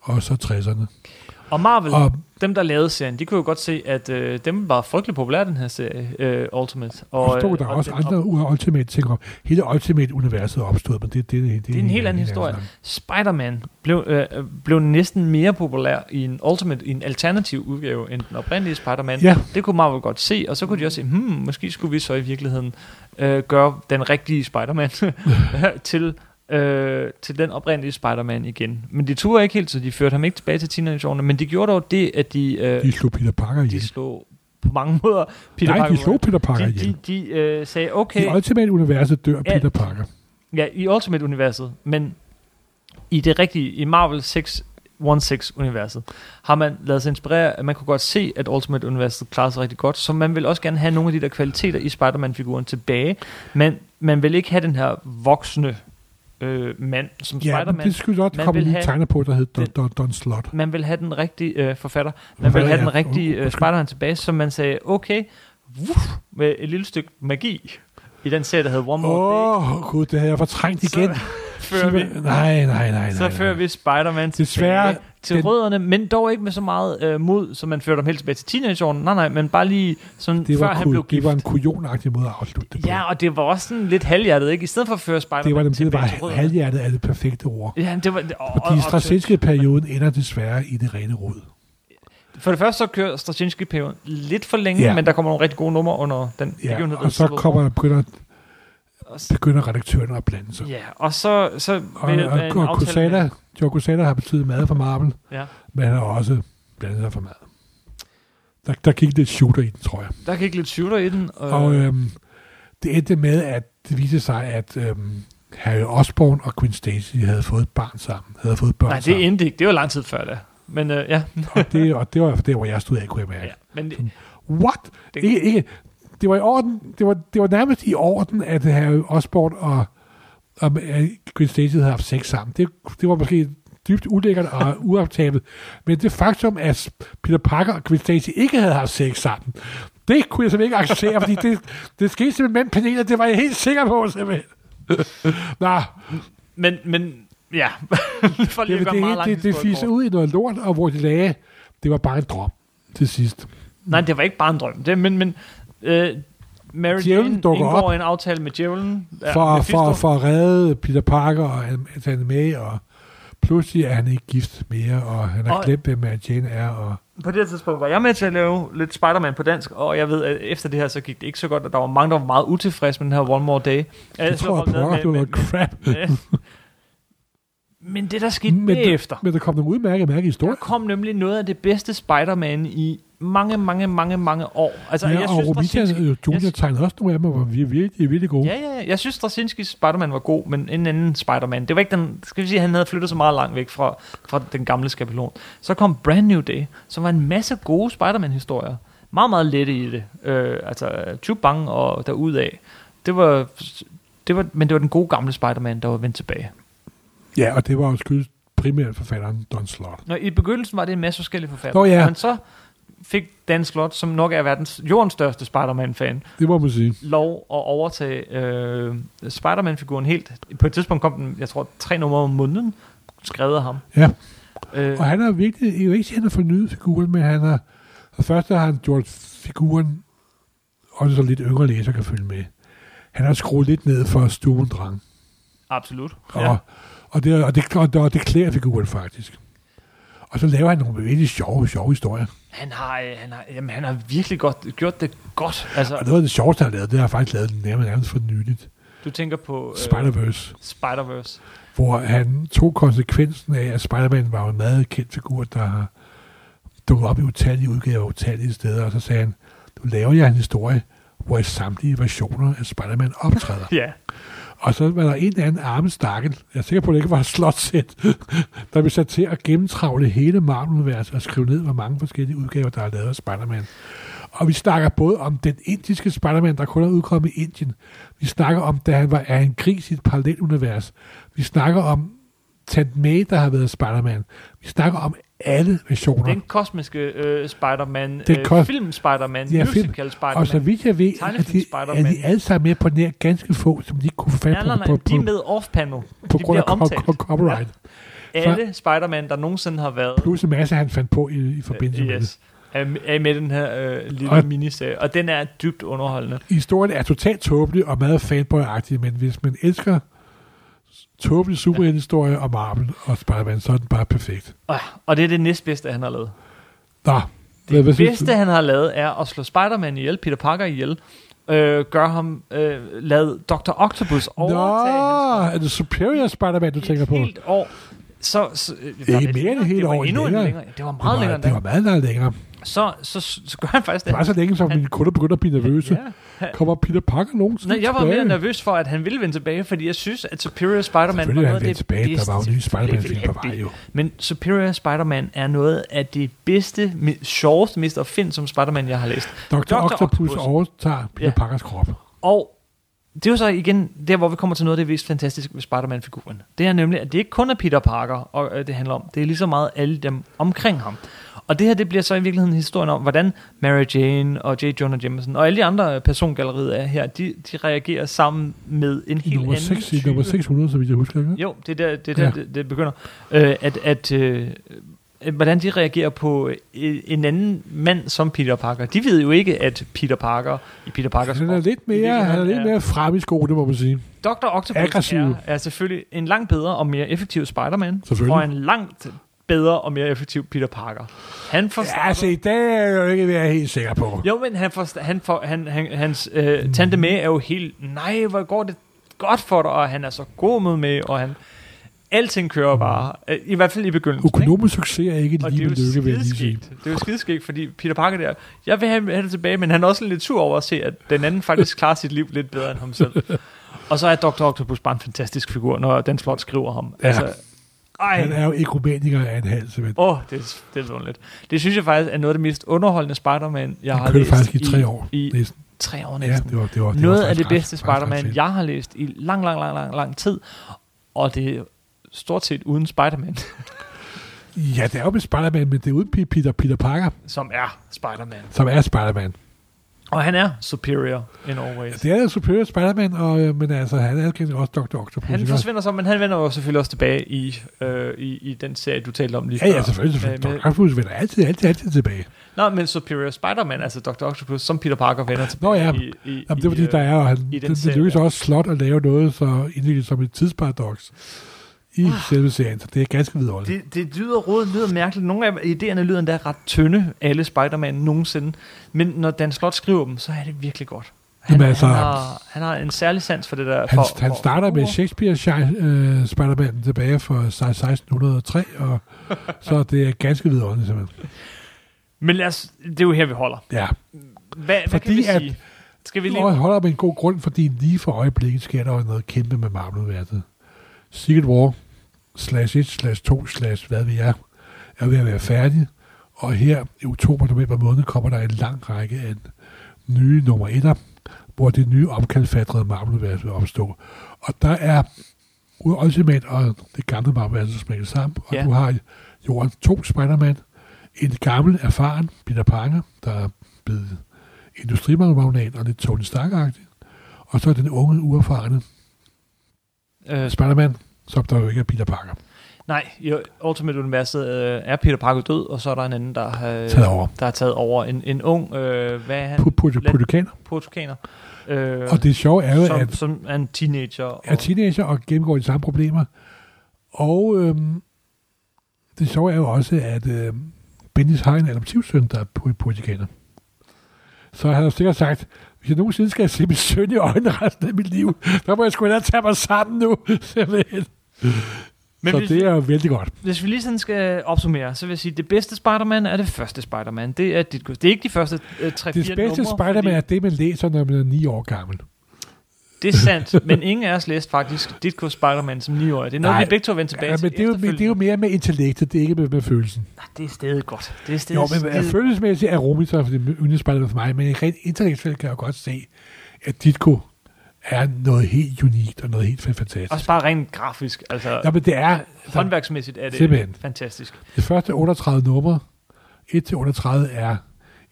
B: og så 60'erne.
A: Og Marvel, og
B: Og
A: dem der lavede serien, de kunne jo godt se, at øh, dem var frygtelig populære, den her serie, øh, Ultimate.
B: og, og stod
A: øh,
B: der også
A: den-
B: andre
A: og-
B: og, Ultimate ting om. Hele Ultimate-universet opstod, men det, det, det,
A: Det er en helt anden historie. Spider-Man blev, øh, øh, blev næsten mere populær i en Ultimate, i en alternativ udgave, end den oprindelige Spider-Man.
B: Ja,
A: Det kunne Marvel godt se, og så kunne de også se, hmm, måske skulle vi så i virkeligheden øh, gøre den rigtige Spider-Man til, øh, til den oprindelige Spider-Man igen. Men de turde ikke helt, så de førte ham ikke tilbage til teenageårene, men de gjorde dog det, at de, øh,
B: de slog Peter Parker
A: de
B: ihjel.
A: slog på mange måder Peter
B: Nej, de
A: Parker.
B: slog Peter Parker
A: de,
B: ihjel.
A: de, de øh, sagde,
B: I
A: okay,
B: Ultimate-universet dør
A: Ja.
B: Peter Parker.
A: ja, i Ultimate-universet, men i det rigtige, i Marvel 616-universet, har man lavet sig inspirere, at man kunne godt se, at Ultimate-universet klarede sig rigtig godt, så man vil også gerne have nogle af de der kvaliteter i Spider-Man-figuren tilbage, men man vil ikke have den her voksne øh, mand som
B: Ja, men
A: Spider-Man.
B: det skulle godt
A: man
B: komme
A: vil
B: lige
A: have-
B: tegner på, der hed Don,
A: den-
B: Don, Don Slot.
A: Man vil have den rigtige øh, forfatter, man
B: Forfatter,
A: vil have
B: ja.
A: den rigtige
B: Uh,
A: øh,
B: undskyld.
A: Spider-Man tilbage, så man sagde, okay, woof, med et lille stykke magi i den serie, der hed One More Day,
B: Åh, oh, gud, det havde jeg fortrængt igen.
A: fører vi
B: Nej, nej, nej, nej.
A: så fører vi Spider-Man
B: Desværre,
A: tilbage til
B: den-
A: rødderne, men dog ikke med så meget øh, mod, som man førte dem helt tilbage til teenageårene. Nej, nej, men bare lige sådan,
B: Det
A: før
B: var,
A: han
B: ku,
A: blev
B: det
A: gift.
B: var en kujonagtig måde at afslutte det på.
A: Ja, og det var også sådan lidt halvhjertet, ikke? I stedet for at føre Spider-Man
B: det var nemlig det
A: tilbage
B: var
A: til rødderne.
B: halvhjertet af det perfekte ord.
A: Ja, det var... det- Og, og,
B: Fordi
A: og,
B: strategiske perioden ender desværre i det rene rod.
A: for det første så kører straczynski perioden lidt for længe,
B: Ja.
A: men der kommer nogle rigtig gode numre under den
B: Ja,
A: begivenhed.
B: og så
A: der-
B: kommer, begynder,
A: Og s-
B: begynder redaktøren at blande sig.
A: Ja, og så... så
B: Og,
A: ved- med en
B: og, og
A: aftale med-
B: Kusada, Joe Kusada har betydet meget for Marvel,
A: Ja,
B: men han har også blandet sig for meget. Der, der gik lidt shooter i den, tror jeg.
A: der gik lidt shooter i den. Og, øh,
B: Og øhm, det endte med, at det viste sig, at øhm, Harry Osborn og Gwen Stacy havde fået et barn sammen. Havde fået børn
A: nej, det
B: sammen.
A: endte ikke. Det var lang tid før da. Men øh, ja,
B: og, det, og det var der, hvor jeg stod af, kunne jeg mærke.
A: ja. Men, det-
B: What?
A: Det-
B: Det, ikke, ikke. det var i orden. Det var, det var nærmest i orden, at Harry Osborn og, og øh, Gwen Stacy havde haft sex sammen. Det, det var måske dybt ulækkert og uaftabelt. Men det faktum, at Peter Parker og Gwen Stacy ikke havde haft sex sammen, Det kunne jeg simpelthen ikke acceptere, fordi det, det skete simpelthen med en panel, og det var jeg helt sikker på, simpelthen. Nå,
A: Men, men ja, for lige
B: det,
A: at
B: det,
A: gøre meget
B: det,
A: langt.
B: det, det fiser ud i noget lort, og hvor de lagde, det var bare en drop til sidst.
A: Nej, det var ikke bare en drøm. Det, men men øh, Mary Jane
B: Djævlen dukker
A: indgår
B: op.
A: en aftale med djævlen.
B: Ja, for,
A: Mephisto.
B: for, for at redde Peter Parker og Anne- Anne May, og pludselig er han ikke gift mere, og han har
A: Og-
B: glemt, hvem Mary Jane er, og
A: På det her tidspunkt var jeg med til at lave lidt Spider-Man på dansk, og jeg ved, at efter det her, så gik det ikke så godt, og der var mange, der var meget utilfredse med den her One More Day.
B: jeg tror, at Parker, det var noget crap.
A: men det, der skete
B: Men det-
A: derefter,
B: Men der kom nogle udmærkede mærke
A: der
B: historier.
A: kom nemlig noget af det bedste Spider-Man i mange, mange, mange, mange år. Altså,
B: Ja,
A: jeg
B: og
A: synes,
B: Romita
A: Straczynski-
B: Junior
A: jeg-
B: tegnede også nogle af dem, og vi er virkelig, virkelig gode.
A: Ja, ja, ja. jeg synes, Straczynskis Spider-Man var god, men en anden Spider-Man, det var ikke den, skal vi sige, han havde flyttet så meget langt væk fra, fra den gamle skabelon. Så kom Brand New Day, som var en masse gode Spider-Man-historier. Meget, meget lette i det. Øh, altså, Chubang og derudaf. Det var, det var, men det var den gode gamle Spider-Man, der var vendt tilbage.
B: Ja, og det var jo skyldes primært forfatteren Don Slott.
A: Nå, I begyndelsen var det en masse forskellige forfattere,
B: Nå, ja.
A: men så fik Dan Slott, som nok er verdens, jordens største Spider-Man-fan,
B: Det må man sige.
A: lov at overtage øh, Spider-Man-figuren helt. På et tidspunkt kom den, jeg tror, tre numre om måneden, skrevet af ham.
B: Ja.
A: Øh,
B: Og han har virkelig, jeg vil ikke sige, at han har fornyet figuren, men han har, og først har han gjort figuren, også så lidt yngre læser kan følge med. Han har skruet lidt ned for stuen drang.
A: absolut.
B: Og, ja. og, det, og, det, og, det, og det klæder figuren faktisk. Og så laver han nogle virkelig sjove, sjove historier.
A: Han, har, øh, han, har, jamen, han har virkelig godt, gjort det godt.
B: Og
A: Altså,
B: noget af det sjoveste, han har lavet, det har han faktisk lavet nærmest, nærmest for nyligt.
A: du tænker på øh,
B: Spider-Verse.
A: Spider-Verse.
B: hvor han tog konsekvensen af, at Spider-Man var jo en meget kendt figur, der har dukket op i utallige udgaver utallige steder, og så sagde han, nu laver jeg en historie, hvor samtlige versioner af Spider-Man optræder.
A: Ja,
B: og så var der en eller anden arme stakkel, jeg er sikker på, at det ikke var et slotsæt, der blev sat til at gennemtravle hele Marvel-universet og skrive ned, hvor mange forskellige udgaver, der er lavet af Spider-Man. Og vi snakker både om den indiske Spider-Man, der kun er udkommet i Indien. Vi snakker om, da han var er en gris i et parallelt univers. Vi snakker om Tant May, der har været Spider-Man. Vi snakker om alle versioner.
A: den kosmiske øh, Spider-Man,
B: Den
A: øh,
B: kos-
A: film-Spider-man,
B: Ja, film.
A: musical
B: Og så
A: Spider-Man.
B: vidt jeg ved, at de,
A: Tegnefilm-Spider-Man.
B: er de alle sammen med på nær ganske få, som de ikke kunne få fat
A: Nej,
B: på,
A: nej, nej,
B: på,
A: de er
B: på,
A: med off-panel.
B: på
A: de
B: grund af
A: bliver
B: co-
A: omtalt.
B: co- copyright.
A: Alle Spider-Man, der nogensinde har været
B: Plus en masse, han fandt på i, i forbindelse
A: øh,
B: med det.
A: yes, er, er med i den her øh, lille
B: Og-
A: miniserie, og den er dybt underholdende.
B: Historien er totalt tåbelig og meget fanboy-agtig, men hvis man elsker tåbelig superheltehistorie og Marvel og Spider-Man, så er den bare perfekt.
A: Og, Ah, og det er det næstbedste, han har lavet.
B: Nå,
A: Det
B: hvad synes
A: bedste, han har lavet, er at slå Spider-Man ihjel, Peter Parker ihjel, øh, gør ham, øh, lad Dr. Octopus
B: du? Nå,
A: overtage hans
B: er det Superior Spider-Man, du
A: et
B: tænker på?
A: helt år. Så, så, øh,
B: Det er
A: var
B: mere end et
A: længere?
B: helt
A: det var
B: år,
A: endnu en
B: længere.
A: længere. Det var
B: det var,
A: meget længere
B: det var
A: end
B: meget, meget længere.
A: det. Så, så, så gør han faktisk
B: Det
A: det.
B: var så længe, som
A: Han-
B: mine kunder begyndte at blive nervøse.
A: Ja.
B: Kommer Peter Parker nogensinde
A: Nej, jeg var mere
B: tilbage?
A: nervøs for, at han ville vende tilbage, fordi jeg synes, at Superior Spider-Man var
B: Selvfølgelig er
A: noget af
B: han vendt
A: det
B: tilbage. Der
A: bedste.
B: var jo en ny Spider-Man-film
A: Selvfølgelig
B: på
A: er
B: vej,
A: det.
B: jo.
A: Men Superior Spider-Man er noget af det bedste, me- sjoveste, mest opfindsomme Spider-Man, jeg har læst.
B: Dr.
A: Dr.
B: Octopus
A: Octopus.
B: overtager Peter
A: Ja.
B: Parkers krop.
A: Og det er jo så igen der, hvor vi kommer til noget af det mest fantastiske ved Spider-Man-figuren. Det er nemlig, at det ikke kun er Peter Parker, og øh, det handler om. Det er lige så meget alle dem omkring ham. Og det her, det bliver så i virkeligheden historien om, hvordan Mary Jane og J. Jonah Jameson og alle de andre øh, persongalleriet er her, de, de reagerer sammen med en
B: I
A: helt
B: nummer,
A: anden
B: 6, i
A: type.
B: nummer 600, så vidt jeg husker. Ikke?
A: Jo, det er der, det, er der
B: Mm. Ja.
A: det, det begynder. Øh, at, at, øh, øh, hvordan de reagerer på øh, en anden mand som Peter Parker. De ved jo ikke, at Peter Parker i Peter Parkers
B: Han er lidt mere, han er lidt mere frem i skoene, må man sige.
A: Dr. Octopus
B: aggressiv.
A: er, er selvfølgelig en langt bedre og mere effektiv Spider-Man.
B: Selvfølgelig.
A: Og en langt bedre og mere effektiv Peter Parker. Han forstår...
B: Ja, altså, i dag er jeg jo ikke ved at være helt sikker på.
A: Jo, men han forstår, han for, han, han, hans øh, tante med er jo helt... Nej, hvor går det godt for dig, og han er så god med med, og han... Alting kører bare. Øh, I hvert fald i begyndelsen. ikke?
B: Økonomisk succes er ikke
A: Og det
B: lige
A: er jo
B: med lykke, vil jeg lige sige.
A: skideskægt. Det er jo skideskægt, fordi Peter Parker der, jeg vil have have det tilbage, men han er også lidt sur over at se, at den anden faktisk klarer sit liv lidt bedre end ham selv. Og så er Dr. Octopus bare en fantastisk figur, når Dan Slot skriver ham. Altså,
B: Ja. Han
A: ej,
B: er jo ekumeniker af en hals, men
A: åh, oh, det, er- det er lidt. Det synes jeg faktisk er noget af det mest underholdende Spider-Man, jeg har
B: han kørte
A: læst.
B: faktisk i tre år.
A: I, i
B: næsten.
A: tre år
B: Ja,
A: næsten.
B: det var, det var, det
A: noget
B: var
A: af
B: faktisk
A: det bedste
B: ret- faktisk ret
A: Spider-Man,
B: fedt.
A: jeg har læst i lang, lang, lang, lang, lang tid. Og det er stort set uden Spider-Man,
B: Ja, det er jo med Spider-Man, men det er uden Peter, Peter Parker,
A: som er Spider-Man.
B: som er Spider-Man.
A: Og han er superior in always.
B: Det er Superior Spider-Man, og, øh, men altså, han er jo også Dr. Octopus.
A: Han
B: ikke også?
A: forsvinder så, men han vender jo selvfølgelig også tilbage i, øh, i, i den serie, du talte om lige
B: Ja,
A: før.
B: ja, selvfølgelig. selvfølgelig.
A: Øh, med-
B: Dr. Octopus vender altid, altid, altid tilbage.
A: Nå, men Superior Spider-Man, altså Dr. Octopus, som Peter Parker vender tilbage
B: Nå ja.
A: i, i,
B: Jamen, det er
A: i,
B: fordi,
A: øh,
B: der er, og han, det,
A: den
B: det
A: serie,
B: lykkes
A: ja.
B: også slot at lave noget så indviklet som et tidsparadoks i selve serien, så det er ganske vidunderligt.
A: Ah. Det, det lyder råd, lyder mærkeligt. Nogle af idéerne lyder endda ret tynde, alle Spider-Man nogensinde. Men når Dan Slot skriver dem, så er det virkelig godt. Han,
B: Jamen, altså-
A: han, har, han har en særlig sans for det der.
B: Han,
A: for,
B: han
A: for
B: starter med
A: humor.
B: Shakespeare uh, Spider-Man tilbage fra 1603, og så det er ganske vidunderligt simpelthen.
A: Men lad os, det er jo her, vi holder.
B: Ja,
A: Hvad, hvad kan
B: Fordi
A: vi
B: at-
A: sige? Skal vi lige...
B: og holder med en god grund, fordi lige for øjeblikket sker der jo noget kæmpe med Marvel-universet. Secret War slash 1 slash 2 slash hvad vi er, er ved at være færdig. Og her i oktober november måned kommer der en lang række af nye nummer 1'er, hvor det nye omkalfatrede Marvel-univers vil opstå. Og der er ude Ultimate og det gamle Marvel-univers smækket sammen, og
A: Ja.
B: ja. du har jorden to Spider-Man, en gammel, erfaren Peter Parker, der er blevet industrimagnat og lidt Tony stark -agtig. og så er den unge, uerfarne
A: Øh,
B: Spider-Man, som der jo ikke er Peter Parker,
A: nej, i Ultimate Universet øh, er Peter Parker død, og så er der en anden, der, øh,
B: taget over.
A: der har taget over. En, en ung, øh, hvad er han?
B: På, på,
A: Let-
B: på, på
A: portuganer. Øh,
B: og det sjove er jo,
A: som,
B: at
A: som er en teenager.
B: er
A: Og,
B: teenager og gennemgår de samme problemer. Og øhm, det sjove er jo også, at øhm, Bendis har en adoptivsøn, der er pu- puritaner. Så han har sikkert sagt, hvis jeg nogensinde skal se min søn i øjnene resten af mit liv, der må jeg sgu hellere tage mig sammen nu. simpelthen.
A: men
B: så
A: hvis, Altså,
B: det er jo vældig godt.
A: hvis vi lige sådan skal opsummere, så vil jeg sige, at det bedste Spider-Man er det første Spider-Man. Det er, dit, gu- det er ikke de første øh, 3-4
B: Det bedste Spider-Man er det, man læser, når man er ni år gammel.
A: Det er sandt, men ingen af os læste faktisk Ditko Spider-Man som 9 år. Det er noget,
B: Nej.
A: vi begge to vendte tilbage
B: Ja, men
A: til
B: det, er jo, men det er jo
A: efterfølgende.
B: mere med intellektet, det er ikke med, med følelsen.
A: Nej, det er stadig godt. Det er stadig
B: Jo, men
A: skide-
B: er følelsesmæssigt er Rumi så det yndlingsspejler for mig, men rent intellektuelt kan jeg jo godt se, at Ditko er noget helt unikt og noget helt fa- fantastisk.
A: Også bare rent grafisk. Altså,
B: Ja, men det er altså,
A: håndværksmæssigt er det
B: Simpelthen.
A: fantastisk.
B: det første 38 numre, 1-38 er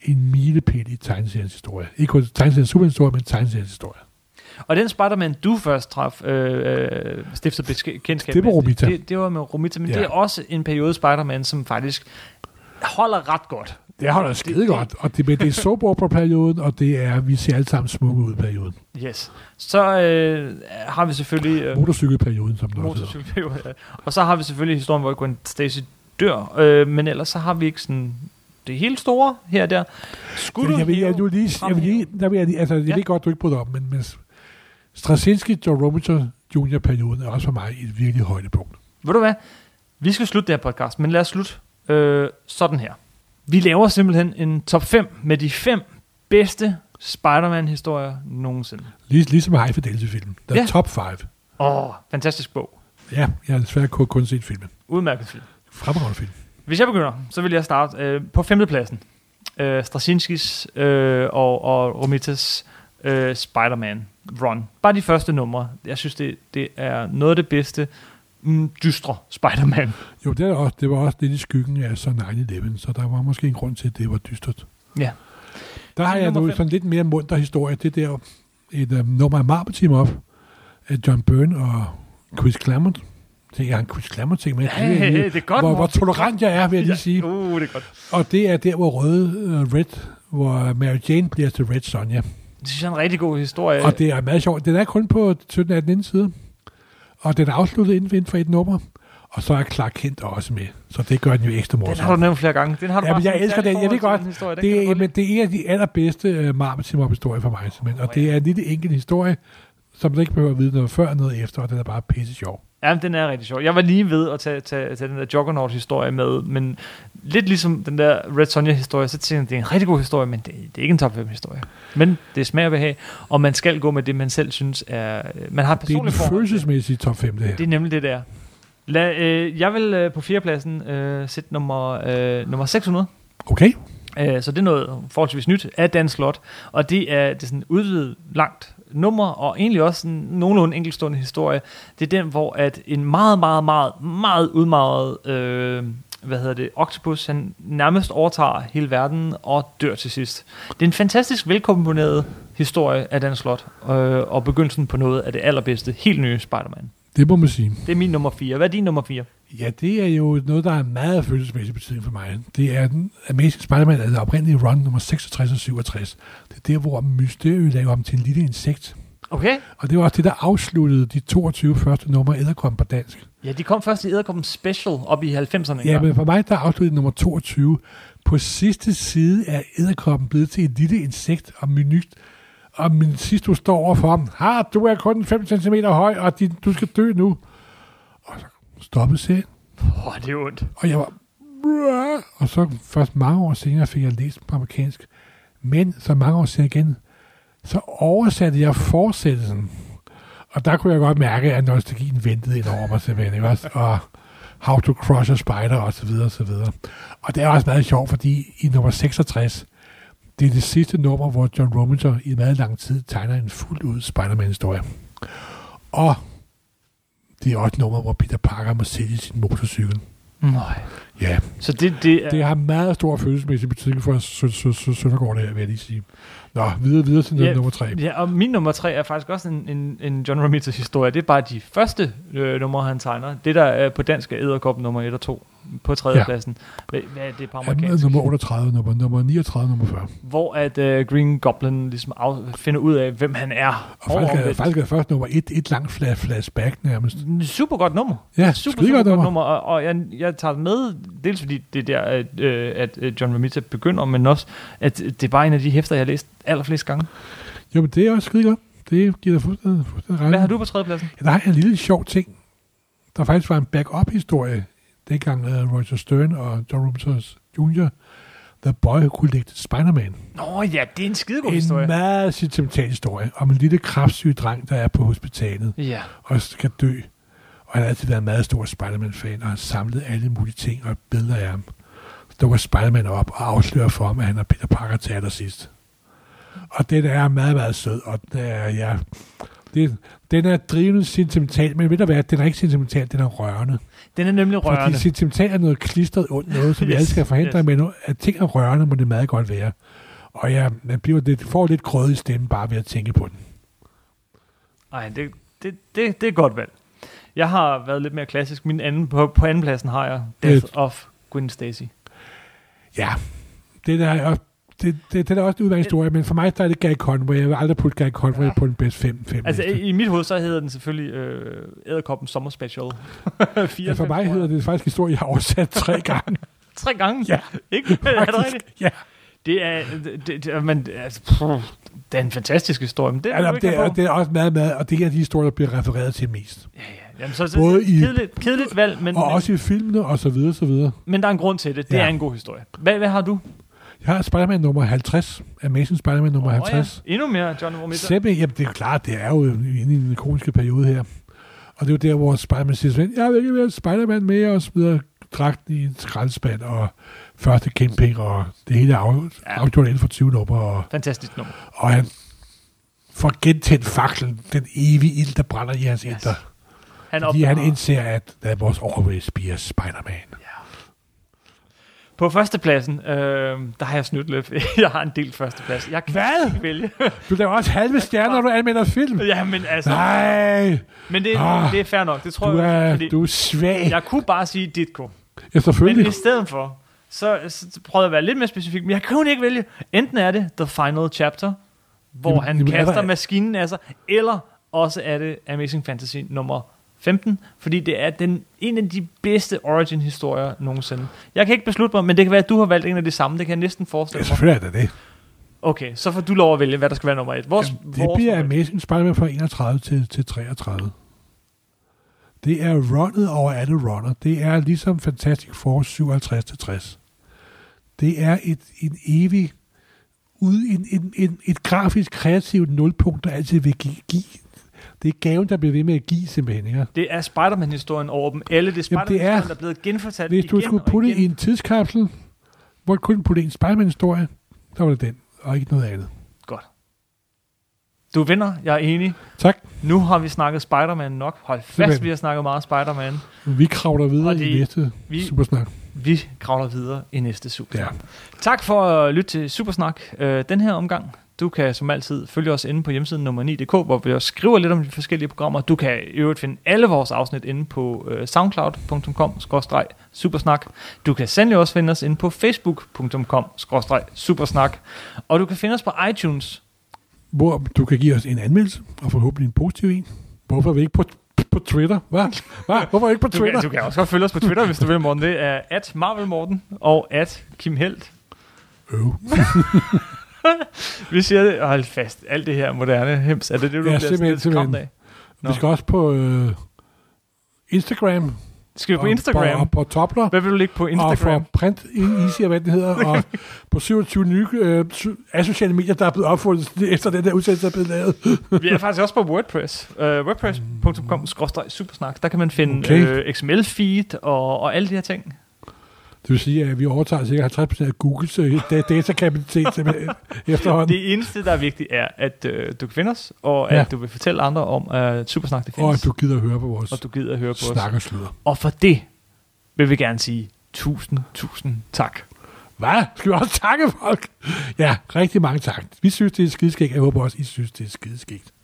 B: en milepæl i tegneseriens historie. Ikke kun tegneseriens superhistorie, men tegneseriens historie.
A: Og den Spider-Man, du først traf, øh, øh, stiftede besk- kendskab
B: Det var
A: med,
B: Romita.
A: Det, det var med Romita, men ja.
B: Ja.
A: det er også en periode Spider-Man, som faktisk holder ret godt.
B: Det holder skide godt, og det, men det er soap-opera-perioden, og det er, vi ser alle sammen smukke ud-perioden.
A: Yes. Så øh, har vi selvfølgelig... Øh,
B: Motorcykelperioden, som det også hedder.
A: motorcykelperioden, ja. og så har vi selvfølgelig historien, hvor Gwen Stacy dør, øh, men ellers så har vi ikke sådan det helt store her og der. Skulle
B: Ja,
A: du
B: jeg vil, jeg,
A: hæve-
B: vil lige, jeg, vil lige, der vil jeg, lige- altså, jeg
A: Ja.
B: ved godt, du ikke bryder om, men, men Straczynski, John Romita Jr.-perioden er også for mig et virkelig højdepunkt.
A: Ved du hvad? Vi skal slutte det her podcast, men lad os slutte øh, sådan her. Vi laver simpelthen en top 5 med de fem bedste Spider-Man-historier nogensinde.
B: Lig, ligesom High Fidelity-filmen. Der er
A: Ja.
B: ja. top 5.
A: Åh, oh, fantastisk bog.
B: Ja, jeg har desværre kun, kun set filmen.
A: Udmærket film.
B: Fremragende film.
A: Hvis jeg begynder, så vil jeg starte øh, på femtepladsen. Øh, Straczynskis øh, og, og Romitas øh, Spider-Man run. Bare de første numre. Jeg synes, det, det er noget af det bedste mm, dystre Spider-Man.
B: Jo, det, er også, det var også lidt i skyggen af så 9-11, så der var måske en grund til, at det var dystert.
A: Ja.
B: Der har
A: Så
B: jeg
A: nummer
B: nu
A: fem.
B: sådan lidt mere munter historie. Det der et um, nummer af Marvel Team op af John Byrne og Chris Claremont. Tænker jeg, han Chris Claremont ting med.
A: Hey, hey, hey, det er godt,
B: hvor, hvor
A: Morten.
B: tolerant jeg er, vil jeg lige sige.
A: Uh, det er godt.
B: Og det er der, hvor røde uh, Red, hvor Mary Jane bliver til Red Sonja.
A: Det synes jeg er en rigtig god historie.
B: Og det er meget sjovt. Den er kun på 17-18 side. Og den er afsluttet inden for- inden for et nummer. Og så er Clark Kent også med. Så det gør den jo ekstra
A: Den har du
B: morsom.
A: nævnt flere gange. Den har du
B: Ja,
A: bare
B: men jeg
A: sådan et
B: elsker
A: særligt
B: den. Jeg ved
A: forhold
B: godt,
A: til den historie. Den kan jeg
B: Det, er,
A: godt
B: men det er en af de allerbedste uh, marvel team historier for mig. simpelthen. Og det er en lille enkelt historie, som du ikke behøver at vide noget før og noget efter. Og den er bare pisse sjov.
A: Ja, men den er rigtig sjov. Jeg var lige ved at tage, tage, tage den der Juggernaut-historie med, men lidt ligesom den der Red Sonja-historie, så tænkte jeg, det er en rigtig god historie, men det, det er ikke en top 5-historie. Men det smager behag, og man skal gå med det, man selv synes er... øh, Man har et
B: Det er den
A: personligt forhold. til.
B: følelsesmæssige top 5, det her.
A: Det er nemlig det der. Lad, øh, jeg vil øh, på fjerdepladsen øh, sætte nummer, øh, nummer 600.
B: Okay?
A: Øh, Så det er noget forholdsvis nyt af Dan Slot, og det er, det er sådan et udvidet langt nummer, og egentlig også en nogenlunde enkeltstående historie. Det er den, hvor at en meget, meget, meget, meget udmaget øh, hvad hedder det, Octopus, han nærmest overtager hele verden og dør til sidst. Det er en fantastisk velkomponeret historie af Dan Slot, øh, og begyndelsen på noget af det allerbedste, helt nye Spider-Man.
B: Det må man sige.
A: Det er min nummer 4. Hvad er din nummer 4?
B: Ja, det er jo noget, der er meget følelsesmæssig betydning for mig. Det er den Amazing Spider-Man, altså oprindelige run nummer 66 og 67. Det er der, hvor mysteriet laver om til en lille insekt.
A: Okay.
B: Og det var også det, der afsluttede de 22 første numre Æderkom på dansk.
A: Ja, de kom først i Edderkoppen Special op i 90'erne. engang.
B: Ja, men for mig, der afsluttede nummer 22. På sidste side er æderkoppen blevet til et lille insekt og menyt. Og min sidst, du står overfor ham, har du er kun 5 cm høj, og din, du skal dø nu. Og så stoppede serien,
A: Åh, oh, det er ondt.
B: og jeg var... "Bruh!" Og så først mange år senere fik jeg læst den på amerikansk. Men så mange år senere igen, så oversatte jeg fortsættelsen. Og der kunne jeg godt mærke, at nostalgien ventede ind over mig simpelthen. Ikke også? Og How to Crush a Spider og så videre og så videre. Og det er også meget sjovt, fordi i nummer 66, det er det sidste nummer, hvor John Romita i meget lang tid tegner en fuldt ud Spider-Man-historie. Og det er også et nummer, hvor Peter Parker må sælge sin motorcykel.
A: Nej.
B: Ja,
A: Så det, det, er,
B: det har meget stor følelsesmæssig betydning for Sø- Sø- Sø- Søndergaard, det her, vil jeg lige sige. Nå, videre, videre til
A: Ja,
B: nummer tre.
A: Ja, og min nummer tre er faktisk også en, en, en John Romita's historie. Det er bare de første øh, numre, han tegner. Det der er på dansk er Edderkop nummer 1 og 2 på tredjepladsen. Ja. Hvad er det på
B: Jamen,
A: amerikansk?
B: nummer 38, nummer, nummer 39, nummer 40.
A: Hvor at øh, Green Goblin ligesom af, finder ud af, hvem han er.
B: Og faktisk er,
A: omvendt.
B: faktisk er først nummer et, et langt flash, flashback nærmest.
A: Super godt Mm, nummer.
B: Ja,
A: Super,
B: skide
A: super
B: godt
A: godt
B: nummer.
A: nummer, og, og jeg, jeg tager det med, dels fordi det er der, at, øh, at øh, John Romita begynder, men også, at det er bare en af de hæfter, jeg har læst allerflest gange.
B: Jo, men det er også skide godt. Det giver dig fuldstændig, fuldstændig ret.
A: Hvad har du på tredjepladsen?
B: Ja, der har jeg en lille sjov ting. Der faktisk var en backup-historie, dengang uh, Roger Stern og John Romita Jr., The Boy Who Collected Spider-Man.
A: Nå ja, det er en skidegod
B: En
A: historie.
B: meget sentimental historie om en lille kraftsyg dreng, der er på hospitalet.
A: Ja.
B: og skal dø. Og han har altid været en meget stor Spider-Man-fan, og har samlet alle mulige ting og billeder af ham. Så dukker Spider-Man op og afslører for ham, at han og Peter Parker til allersidst. Og den er meget, meget sød, og den er, ja, det, den er drivende sentimental, men ved du hvad, den er ikke sentimental, den er rørende.
A: Den er nemlig
B: Fordi
A: rørende.
B: sentimental er noget klistret ondt, noget som vi
A: Yes,
B: alle skal forhindre,
A: yes.
B: yes. men nu- at ting er rørende, må det meget godt være. Og ja, man bliver lidt, får lidt grød i stemmen, bare ved at tænke på den.
A: Nej, det, det, det, det er godt valg. Jeg har været lidt mere klassisk. Min anden, på, på andenpladsen har jeg Death
B: Et.
A: of Gwen Stacy.
B: Ja, det der er også, det, det, det der er også en udmærket historie, men for mig der er det Gary Conway. Jeg vil aldrig putte Gary Conway ja. på den bedste 5 fem
A: Altså
B: liste.
A: i, i mit hoved, så hedder den selvfølgelig øh, Æderkoppen Sommer Special. Fire,
B: Ja, Altså, for
A: fem, tror
B: mig
A: jeg.
B: hedder det faktisk historie, jeg har oversat tre gange.
A: Tre gange?
B: Ja,
A: Ikke? er det
B: faktisk,
A: rigtigt?
B: ja.
A: Det er, det, det, det, men, altså, pff, det er en fantastisk historie, men det er
B: Altså,
A: du ikke
B: det, er,
A: her på.
B: det er også meget, meget, og det er de historier, der bliver refereret til mest.
A: Ja, ja. Jamen, så, så,
B: Både i-
A: kedeligt, kedeligt valg, men,
B: Og også i filmene, og så videre, så videre.
A: men, men der er en grund til det. Det
B: Ja.
A: er en god historie. Hvad, hvad har du?
B: Jeg har Spider-Man nummer 50, Amazing Spider-Man nummer
A: Åh,
B: 50.
A: ja. Endnu mere John Romita.
B: Sebbe, jamen det er jo klart, det er jo inde i den kroniske periode her. Og det er jo der, hvor Spider-Man siger, "Svend, jeg vil ikke være Spider-Man mere, og smider dragten i en skraldespand, og første camping, og det hele er af,
A: Ja.
B: afgjort inden for 20 numre, og,
A: Fantastisk nummer.
B: og han får gentændt faklen, den evige ild, der brænder i hans yes.
A: Yes.
B: indre.
A: Han
B: Fordi han
A: opbevarer-
B: indser, at der must always be a Spider-Man.
A: På førstepladsen, øh, der har jeg snydt lidt. Jeg har en del førsteplads. Jeg kan
B: Hvad?
A: ikke vælge.
B: Du laver også halve stjerner, når du anmelder film.
A: ja, men altså,
B: Nej,
A: men det,
B: Ah,
A: det er fair nok. Det tror
B: du
A: jeg,
B: er,
A: fordi
B: du er svag.
A: jeg kunne bare sige Ditko.
B: Ja,
A: Men
B: selvfølgelig.
A: i stedet for, så, så prøvede jeg at være lidt mere specifik, men jeg kunne ikke vælge. Enten er det The Final Chapter, hvor
B: Jamen,
A: han
B: jamen, er
A: kaster
B: der-
A: maskinen af sig, eller også er det Amazing Fantasy nummer 15, fordi det er den, en af de bedste origin-historier nogensinde. Jeg kan ikke beslutte mig, men det kan være, at du har valgt en af de samme. Det kan jeg næsten
B: Ja,
A: forestille mig.
B: selvfølgelig er det det.
A: Okay, så får du lov at vælge, hvad der skal være nummer et. Vores,
B: Jamen, det
A: vores
B: bliver
A: nummer et.
B: Amazing Spider-Man fra 31 til, til 33. Det er runnet over alle runner. Det er ligesom Fantastic Four 57 til 60. Det er et, en evig ud, en, en, en, et grafisk kreativt nulpunkt, der altid vil give. give. Det er gaven, der bliver ved med at give simpelthen. Ikke?
A: Det er Spider-Man-historien over dem alle. Det er
B: Jamen, det er-
A: Spider-Man-historien, der er blevet genfortalt
B: Hvis du
A: igen
B: skulle
A: og
B: putte
A: igen.
B: i en tidskapsel, hvor du kun putte en Spider-Man-historie, der var det den, og ikke noget andet.
A: Godt. Du vinder, jeg er enig.
B: Tak.
A: Nu har vi snakket Spider-Man nok. Hold fast,
B: Simpelthen.
A: vi har snakket meget Spider-Man.
B: Vi kravler videre
A: Og det-
B: i næste
A: vi-
B: vi... supersnak.
A: Vi kravler videre i næste Supersnak.
B: Ja.
A: Ja. Tak for at lytte til Supersnak øh, den her omgang. Du kan som altid følge os inde på hjemmesiden nummer 9.dk, hvor vi også skriver lidt om de forskellige programmer. Du kan i øvrigt finde alle vores afsnit inde på øh, soundcloud.com-supersnak. Du kan sandelig også finde os inde på facebook.com-supersnak. Og du kan finde os på iTunes.
B: Hvor du kan give os en anmeldelse, og forhåbentlig en positiv en. Hvorfor er vi ikke på, på Twitter? Hvad? Hva? Hvorfor er vi ikke på
A: Du kan,
B: Twitter?
A: du kan også godt følge os på Twitter, hvis du vil, Morten. Det er at Marvel Morten og at Kim Helt.
B: Øv.
A: Vi siger det, og hold fast, alt det her moderne hems, er det det, du
B: Ja,
A: ja, bliver
B: simpelthen,
A: lidt skræmt af?
B: simpelthen.
A: Nå.
B: Vi skal også på øh, Instagram.
A: Skal vi på
B: og-
A: Instagram?
B: Og, på Topler.
A: Hvad vil du ligge på
B: Og
A: Instagram?
B: for print easy, og hvad den hedder, og på 27 nye øh, sy- asociale medier, der er blevet opfundet efter den der udsendelse, der er blevet lavet.
A: Vi er faktisk også på WordPress. Uh, WordPress.com-supersnak. Der kan man finde øh,
B: Okay.
A: okay. XML-feed og, og alle de her ting.
B: Det vil sige, at vi overtager cirka 50% af Googles øh, da- datakapacitet simpelthen efterhånden.
A: Det eneste, der er vigtigt, er, at øh, du kan finde os, og at
B: Ja.
A: du vil fortælle andre om, at Supersnak det
B: Og
A: findes,
B: at du gider at høre på vores
A: og du gider at høre på os.
B: snak og sludder.
A: Og for det vil vi gerne sige tusind, tusind tak.
B: Hvad? Skal vi også takke folk? Ja, rigtig mange tak. Vi synes, det er skideskægt. Jeg håber også, I synes, det er skideskægt.